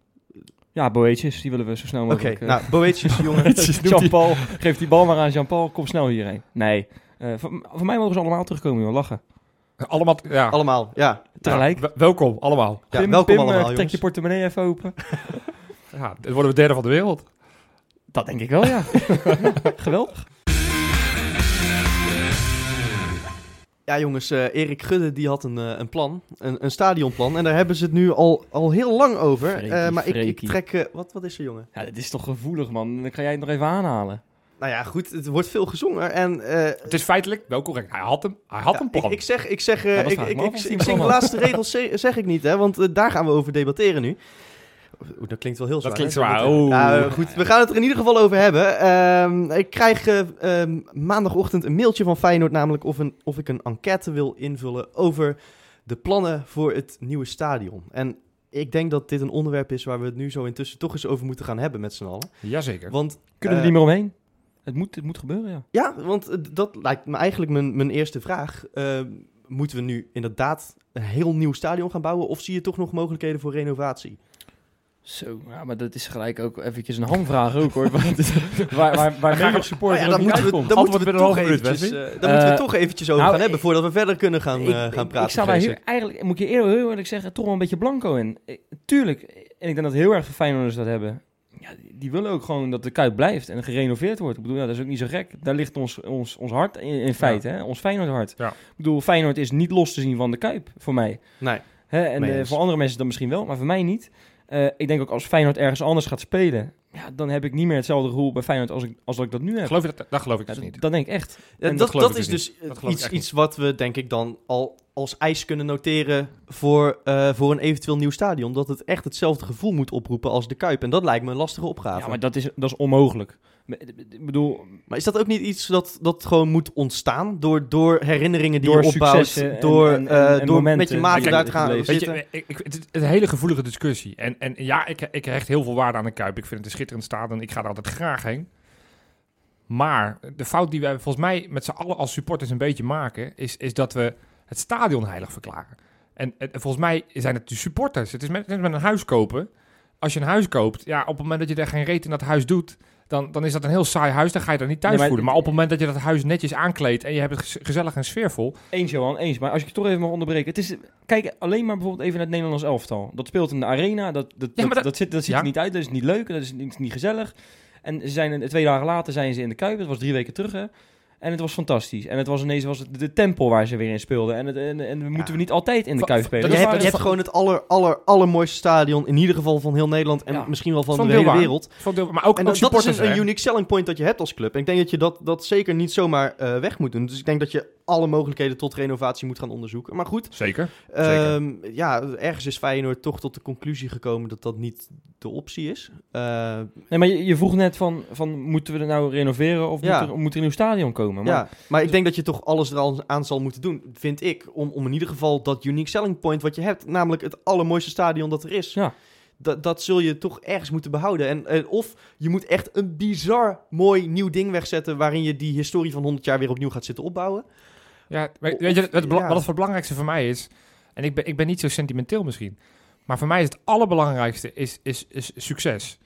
[SPEAKER 3] Ja, Boetjes, die willen we zo snel
[SPEAKER 2] Oké,
[SPEAKER 3] [LAUGHS] mogelijk. eh,
[SPEAKER 2] nou, Boetjes, jongen.
[SPEAKER 3] Jean-Paul, geef die bal maar aan Jean-Paul, kom snel hierheen. Nee, Eh, voor, voor mij mogen ze allemaal terugkomen, joh. Lachen.
[SPEAKER 4] Allemaal, ja.
[SPEAKER 2] Allemaal, ja.
[SPEAKER 3] Tegelijk.
[SPEAKER 4] Ja, wel- welkom, allemaal.
[SPEAKER 2] ja welkom
[SPEAKER 3] Pim, eh,
[SPEAKER 2] allemaal,
[SPEAKER 3] trek je
[SPEAKER 2] jongens.
[SPEAKER 3] portemonnee even open.
[SPEAKER 4] Ja, dan worden we derde van de wereld.
[SPEAKER 3] Dat denk ik wel,
[SPEAKER 2] [LAUGHS]
[SPEAKER 3] ja. Geweldig.
[SPEAKER 2] Ja, jongens, eh, Erik Gudde die had een, eh, een plan, een, een stadionplan. En daar hebben ze het nu al, al heel lang over.
[SPEAKER 3] Freekie,
[SPEAKER 2] Eh, maar ik, ik
[SPEAKER 3] freekie.
[SPEAKER 2] trek... eh, wat, wat is er, jongen?
[SPEAKER 3] Ja, dit is toch gevoelig, man. Dan ga jij het nog even aanhalen.
[SPEAKER 2] Nou ja, goed, het wordt veel gezongen. En eh,
[SPEAKER 4] Het is feitelijk wel correct. Hij had hem, hij had
[SPEAKER 2] Ja,
[SPEAKER 4] een plan.
[SPEAKER 2] Ik, ik zeg, ik zeg, eh,
[SPEAKER 3] Ja, dat
[SPEAKER 2] ik,
[SPEAKER 3] vraag ik
[SPEAKER 2] ik,
[SPEAKER 3] me af
[SPEAKER 2] ik,
[SPEAKER 3] of die
[SPEAKER 2] ik
[SPEAKER 3] hem
[SPEAKER 2] zeg de
[SPEAKER 3] kan.
[SPEAKER 2] laatste regels ze- zeg ik niet, hè, want eh, daar gaan we over debatteren nu. Oeh, dat klinkt wel heel zwaar.
[SPEAKER 4] dat klinkt
[SPEAKER 2] hè?
[SPEAKER 4] zwaar.
[SPEAKER 2] Debatteren.
[SPEAKER 4] Oeh.
[SPEAKER 2] Nou, eh, goed, we gaan het er in ieder geval over hebben. Ehm, ik krijg eh, ehm, maandagochtend een mailtje van Feyenoord, namelijk of, een, of ik een enquête wil invullen over de plannen voor het nieuwe stadion. En ik denk dat dit een onderwerp is waar we het nu zo intussen toch eens over moeten gaan hebben met z'n allen.
[SPEAKER 4] Jazeker.
[SPEAKER 2] Want
[SPEAKER 3] Kunnen we
[SPEAKER 2] Eh,
[SPEAKER 3] er niet meer omheen? Het moet, het moet gebeuren, ja.
[SPEAKER 2] ja, want eh, dat lijkt me eigenlijk mijn, mijn eerste vraag. Eh, moeten we nu inderdaad een heel nieuw stadion gaan bouwen? Of zie je toch nog mogelijkheden voor renovatie?
[SPEAKER 3] Zo, ja, maar dat is gelijk ook eventjes een hamvraag ook, hoor. [LAUGHS] Want, waar waar, waar
[SPEAKER 4] Graag-
[SPEAKER 3] mega supporter
[SPEAKER 2] Nou
[SPEAKER 3] ook
[SPEAKER 2] dan
[SPEAKER 3] niet
[SPEAKER 2] moeten we,
[SPEAKER 3] uitkomt.
[SPEAKER 2] dan moeten
[SPEAKER 4] Antwoord
[SPEAKER 2] we
[SPEAKER 4] binnen een
[SPEAKER 2] toch
[SPEAKER 4] halve minuut,
[SPEAKER 2] eventjes,
[SPEAKER 4] Wesley.
[SPEAKER 2] eh, daar moeten we
[SPEAKER 3] Eh,
[SPEAKER 2] toch eventjes over
[SPEAKER 3] nou,
[SPEAKER 2] gaan hebben...
[SPEAKER 3] ik-
[SPEAKER 2] voordat we verder kunnen gaan, eh, gaan praten.
[SPEAKER 3] Ik sta daar
[SPEAKER 2] vrees
[SPEAKER 3] heel, eigenlijk, moet ik je eerlijk, heel eerlijk zeggen, toch wel een beetje blanco in. Ik- tuurlijk, en ik denk dat heel erg veel Feyenoorders dat hebben. Ja, die- die willen ook gewoon dat de Kuip blijft en gerenoveerd wordt. Ik bedoel, ja, dat is ook niet zo gek. Daar ligt ons, ons, ons hart in, in feite, hè? ons Feyenoord-hart.
[SPEAKER 4] Ja.
[SPEAKER 3] Ik bedoel, Feyenoord is niet los te zien van de Kuip, voor mij.
[SPEAKER 2] Nee.
[SPEAKER 3] Hè? En
[SPEAKER 2] Mee
[SPEAKER 3] eh,
[SPEAKER 2] eens.
[SPEAKER 3] voor andere mensen dan misschien wel, maar voor mij niet. Eh, ik denk ook als Feyenoord ergens anders gaat spelen, ja, dan heb ik niet meer hetzelfde gevoel bij Feyenoord als ik, als dat ik dat nu heb.
[SPEAKER 4] Geloof je dat? Dat geloof ik
[SPEAKER 3] Ja,
[SPEAKER 4] dus niet.
[SPEAKER 3] dat, dat denk ik echt.
[SPEAKER 2] Ja,
[SPEAKER 4] En dat
[SPEAKER 2] dat,
[SPEAKER 4] geloof
[SPEAKER 2] dat
[SPEAKER 4] ik
[SPEAKER 2] is
[SPEAKER 4] dus
[SPEAKER 2] dus
[SPEAKER 4] Dat
[SPEAKER 2] eh,
[SPEAKER 4] geloof ik
[SPEAKER 2] iets,
[SPEAKER 4] echt niet.
[SPEAKER 2] iets wat we denk ik dan al als eis kunnen noteren voor, eh, voor een eventueel nieuw stadion. Dat het echt hetzelfde gevoel moet oproepen als de Kuip. En dat lijkt me een lastige opgave.
[SPEAKER 3] Ja, maar dat is, dat is onmogelijk. Ik bedoel,
[SPEAKER 2] Maar is dat ook niet iets dat, dat gewoon moet ontstaan door, door herinneringen die
[SPEAKER 3] Door
[SPEAKER 2] je opbouwt?
[SPEAKER 3] successen en-
[SPEAKER 2] door
[SPEAKER 3] en- en-
[SPEAKER 2] eh,
[SPEAKER 3] en
[SPEAKER 2] door met
[SPEAKER 3] momenten
[SPEAKER 2] je maat
[SPEAKER 3] die
[SPEAKER 2] daar te
[SPEAKER 3] zijn
[SPEAKER 2] gaan
[SPEAKER 3] gebleven.
[SPEAKER 4] Weet
[SPEAKER 2] zitten.
[SPEAKER 4] je, ik, ik, het is een hele gevoelige discussie. En, en ja, ik, ik hecht heel veel waarde aan de Kuip. Ik vind het een schitterend stadion. Ik ga er altijd graag heen. Maar de fout die wij volgens mij met z'n allen als supporters een beetje maken... is, is dat we het stadion heilig verklaren. En, en volgens mij zijn het de supporters. Het is met, net met een huis kopen. Als je een huis koopt, ja, op het moment dat je daar geen reet in dat huis doet... Dan, dan is dat een heel saai huis, dan ga je daar niet thuis
[SPEAKER 3] Nee, maar-
[SPEAKER 4] voelen. Maar op het moment dat je dat huis netjes aankleedt... en je hebt het gez- gezellig en sfeervol...
[SPEAKER 3] Eens, Johan, eens. Maar als ik je toch even mag onderbreken. Het is, kijk alleen maar bijvoorbeeld even naar het Nederlands elftal. Dat speelt in de arena. Dat, dat,
[SPEAKER 4] maar
[SPEAKER 3] dat,
[SPEAKER 4] dat-
[SPEAKER 3] dat zit, dat ziet
[SPEAKER 4] ja.
[SPEAKER 3] er niet uit. Dat is niet leuk. Dat is niet, niet gezellig. En ze zijn, twee dagen later zijn ze in de Kuip. Het was drie weken terug, hè. En het was fantastisch. En het was ineens was het de tempel waar ze weer in speelden. En, het, en, en we moeten we niet altijd in de
[SPEAKER 4] Va-
[SPEAKER 3] Kuip
[SPEAKER 4] dat
[SPEAKER 3] spelen.
[SPEAKER 2] Je
[SPEAKER 4] is
[SPEAKER 2] hebt,
[SPEAKER 4] waar,
[SPEAKER 2] je hebt
[SPEAKER 4] van-
[SPEAKER 2] gewoon het aller, aller, allermooiste stadion, in ieder geval van heel Nederland en
[SPEAKER 3] Ja.
[SPEAKER 2] misschien wel van,
[SPEAKER 4] Van
[SPEAKER 2] de hele
[SPEAKER 4] Dilwaar.
[SPEAKER 2] wereld.
[SPEAKER 4] Van de- Maar ook,
[SPEAKER 2] En
[SPEAKER 4] ook
[SPEAKER 2] dat, dat is
[SPEAKER 4] supporters,
[SPEAKER 2] een, een
[SPEAKER 4] hè.
[SPEAKER 2] unique selling point dat je hebt als club. En ik denk dat je dat, dat zeker niet zomaar eh, weg moet doen. Dus ik denk dat je alle mogelijkheden tot renovatie moet gaan onderzoeken. Maar goed,
[SPEAKER 4] Zeker. Zeker.
[SPEAKER 2] Ehm, ja, ergens is Feyenoord toch tot de conclusie gekomen dat dat niet de optie is. Eh,
[SPEAKER 3] Nee, maar je, je vroeg net van, van moeten we er nou renoveren of
[SPEAKER 2] Ja.
[SPEAKER 3] moet, er, moet er een nieuw stadion komen? Maar, dus-
[SPEAKER 2] ja, maar ik denk dat je toch alles er al aan zal moeten doen, vind ik. Om, om in ieder geval dat unique selling point wat je hebt, namelijk het allermooiste stadion dat er is.
[SPEAKER 3] Ja.
[SPEAKER 2] Dat, dat zul je toch ergens moeten behouden. En, eh, of je moet echt een bizar mooi nieuw ding wegzetten waarin je die historie van 100 jaar weer opnieuw gaat zitten opbouwen.
[SPEAKER 4] Ja,
[SPEAKER 2] Of-
[SPEAKER 4] weet, weet je, het, bela-
[SPEAKER 2] ja.
[SPEAKER 4] wat het belangrijkste voor mij is, en ik ben, ik ben niet zo sentimenteel misschien, maar voor mij is het allerbelangrijkste is, is, is succes.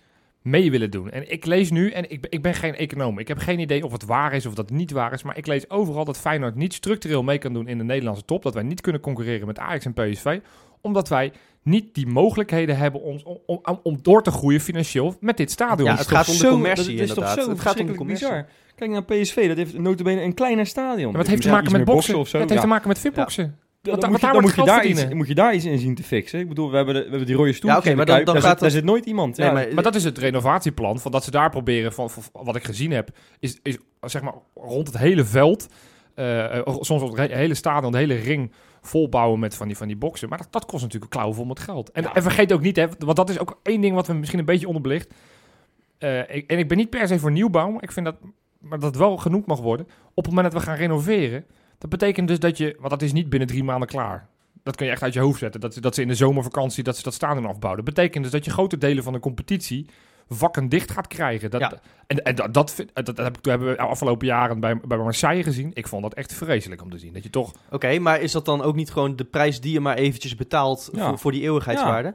[SPEAKER 4] Mee willen doen. En ik lees nu, en ik, ben- ik ben geen econoom, ik heb geen idee of het waar is of dat niet waar is, maar ik lees overal dat Feyenoord niet structureel mee kan doen in de Nederlandse top, dat wij niet kunnen concurreren met Ajax en PSV, omdat wij niet die mogelijkheden hebben om, om, om, om door te groeien financieel met dit
[SPEAKER 2] Ja,
[SPEAKER 4] stadion. Dus
[SPEAKER 2] het gaat om de commercie
[SPEAKER 3] dat is toch
[SPEAKER 2] inderdaad.
[SPEAKER 3] zo
[SPEAKER 2] Het gaat om de
[SPEAKER 3] verschrikkelijk
[SPEAKER 2] commercie.
[SPEAKER 3] bizar. Kijk naar PSV, dat heeft notabene een kleiner stadion.
[SPEAKER 4] maar het heeft te
[SPEAKER 3] Ja,
[SPEAKER 4] maken
[SPEAKER 3] iets
[SPEAKER 4] met
[SPEAKER 3] meer
[SPEAKER 4] boksen.
[SPEAKER 3] of zo.
[SPEAKER 4] het
[SPEAKER 3] Ja.
[SPEAKER 4] heeft te maken met fitboxen.
[SPEAKER 3] Ja,
[SPEAKER 4] Want
[SPEAKER 3] dan
[SPEAKER 4] daar-
[SPEAKER 3] moet je,
[SPEAKER 4] want daar
[SPEAKER 3] dan
[SPEAKER 4] wordt
[SPEAKER 3] moet
[SPEAKER 4] geld
[SPEAKER 3] je
[SPEAKER 4] verdienen.
[SPEAKER 3] daar iets, moet je daar iets in zien te fixen. Ik bedoel, we hebben de, we hebben die rode stoel.
[SPEAKER 2] Ja, oké, maar dan- dan gaat
[SPEAKER 3] daar
[SPEAKER 2] het-
[SPEAKER 3] zit nooit iemand.
[SPEAKER 2] Nee,
[SPEAKER 3] ja.
[SPEAKER 2] maar-
[SPEAKER 4] Maar dat is het renovatieplan. Van dat ze daar proberen, van, van- van wat ik gezien heb, is, is zeg maar rond het hele veld. eh, eh, soms het re- hele stadion, de hele ring volbouwen met van die, van die boksen. Maar dat, dat kost natuurlijk klauwen vol met geld. En, en vergeet ook niet, hè, want dat is ook één ding wat we misschien een beetje onderbelicht. Eh, ik, en ik ben niet per se voor nieuwbouw, maar ik vind dat, maar dat wel genoemd mag worden. Op het moment dat we gaan renoveren, dat betekent dus dat je, want dat is niet binnen drie maanden klaar. Dat kun je echt uit je hoofd zetten. Dat, dat ze in de zomervakantie dat ze dat stadion afbouwen. Dat betekent dus dat je grote delen van de competitie vakken dicht gaat krijgen. Dat,
[SPEAKER 2] Ja.
[SPEAKER 4] En, en dat, dat, vind- dat, dat heb ik, dat hebben we de afgelopen jaren bij, bij Marseille gezien. Ik vond dat echt vreselijk om te zien. Dat je toch...
[SPEAKER 2] Oké, maar is dat dan ook niet gewoon de prijs die je maar eventjes betaalt
[SPEAKER 3] Ja.
[SPEAKER 2] voor, voor die eeuwigheidswaarde?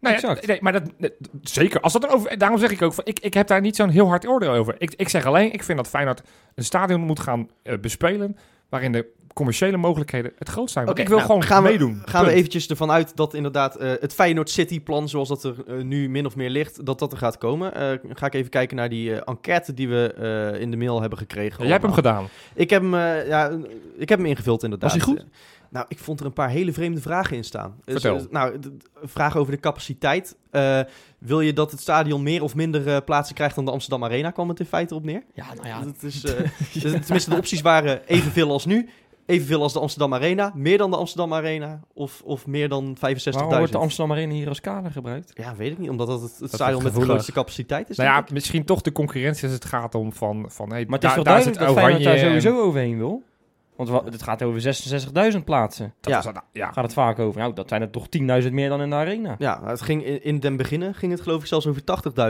[SPEAKER 4] Nou ja,
[SPEAKER 3] Exact.
[SPEAKER 4] nee, maar dat, dat- zeker. Als dat dan over, daarom zeg ik ook, van, ik, ik heb daar niet zo'n heel hard oordeel over. Ik, ik zeg alleen, ik vind dat Feyenoord een stadion moet gaan eh, bespelen... waarin de commerciële mogelijkheden het groot zijn. Want
[SPEAKER 2] Oké,
[SPEAKER 4] ik wil
[SPEAKER 2] nou,
[SPEAKER 4] gewoon
[SPEAKER 2] gaan we-
[SPEAKER 4] meedoen.
[SPEAKER 2] Gaan we
[SPEAKER 4] Punt.
[SPEAKER 2] eventjes ervan uit dat inderdaad eh, het Feyenoord City-plan, zoals dat er eh, nu min of meer ligt, dat dat er gaat komen. Eh, ga ik even kijken naar die eh, enquête die we eh, in de mail hebben gekregen.
[SPEAKER 4] Jij hebt hem
[SPEAKER 2] allemaal.
[SPEAKER 4] gedaan.
[SPEAKER 2] Ik heb hem, eh, ja, ik heb hem ingevuld inderdaad.
[SPEAKER 3] Was hij goed?
[SPEAKER 2] Eh, nou, ik vond er een paar hele vreemde vragen in staan. Dus,
[SPEAKER 4] Vertel.
[SPEAKER 2] eh, nou, d- d- een vraag over de capaciteit. Eh, wil je dat het stadion meer of minder eh, plaatsen krijgt dan de Amsterdam Arena? Kwam het in feite op neer?
[SPEAKER 3] Ja, nou ja.
[SPEAKER 2] Dat
[SPEAKER 3] [LAUGHS]
[SPEAKER 2] is, eh, dus Tenminste, de opties waren evenveel als nu. Evenveel als de Amsterdam Arena. Meer dan de Amsterdam Arena. Of, of meer dan 65.000.
[SPEAKER 3] Waarom wordt de Amsterdam Arena hier als kader gebruikt?
[SPEAKER 2] Ja, weet ik niet. Omdat dat het, het
[SPEAKER 4] is
[SPEAKER 2] stadion met de
[SPEAKER 4] gevoelig.
[SPEAKER 2] grootste capaciteit is.
[SPEAKER 4] nou ja,
[SPEAKER 2] Dus denk ik.
[SPEAKER 4] misschien toch de concurrentie als het gaat om van... van hey,
[SPEAKER 3] Maar het is
[SPEAKER 4] daar-
[SPEAKER 3] wel
[SPEAKER 4] daar
[SPEAKER 3] duidelijk dat Feyenoord daar oh,
[SPEAKER 4] Oranje en-
[SPEAKER 3] sowieso overheen wil. ehm, Want wa- het gaat over 66.000 plaatsen.
[SPEAKER 4] dat
[SPEAKER 2] Ja.
[SPEAKER 4] is- nou, ja.
[SPEAKER 3] Gaat het vaak over. Nou, dat zijn er toch 10.000 meer dan in de arena.
[SPEAKER 2] ja, maar het ging in, in den beginnen ging het geloof ik zelfs over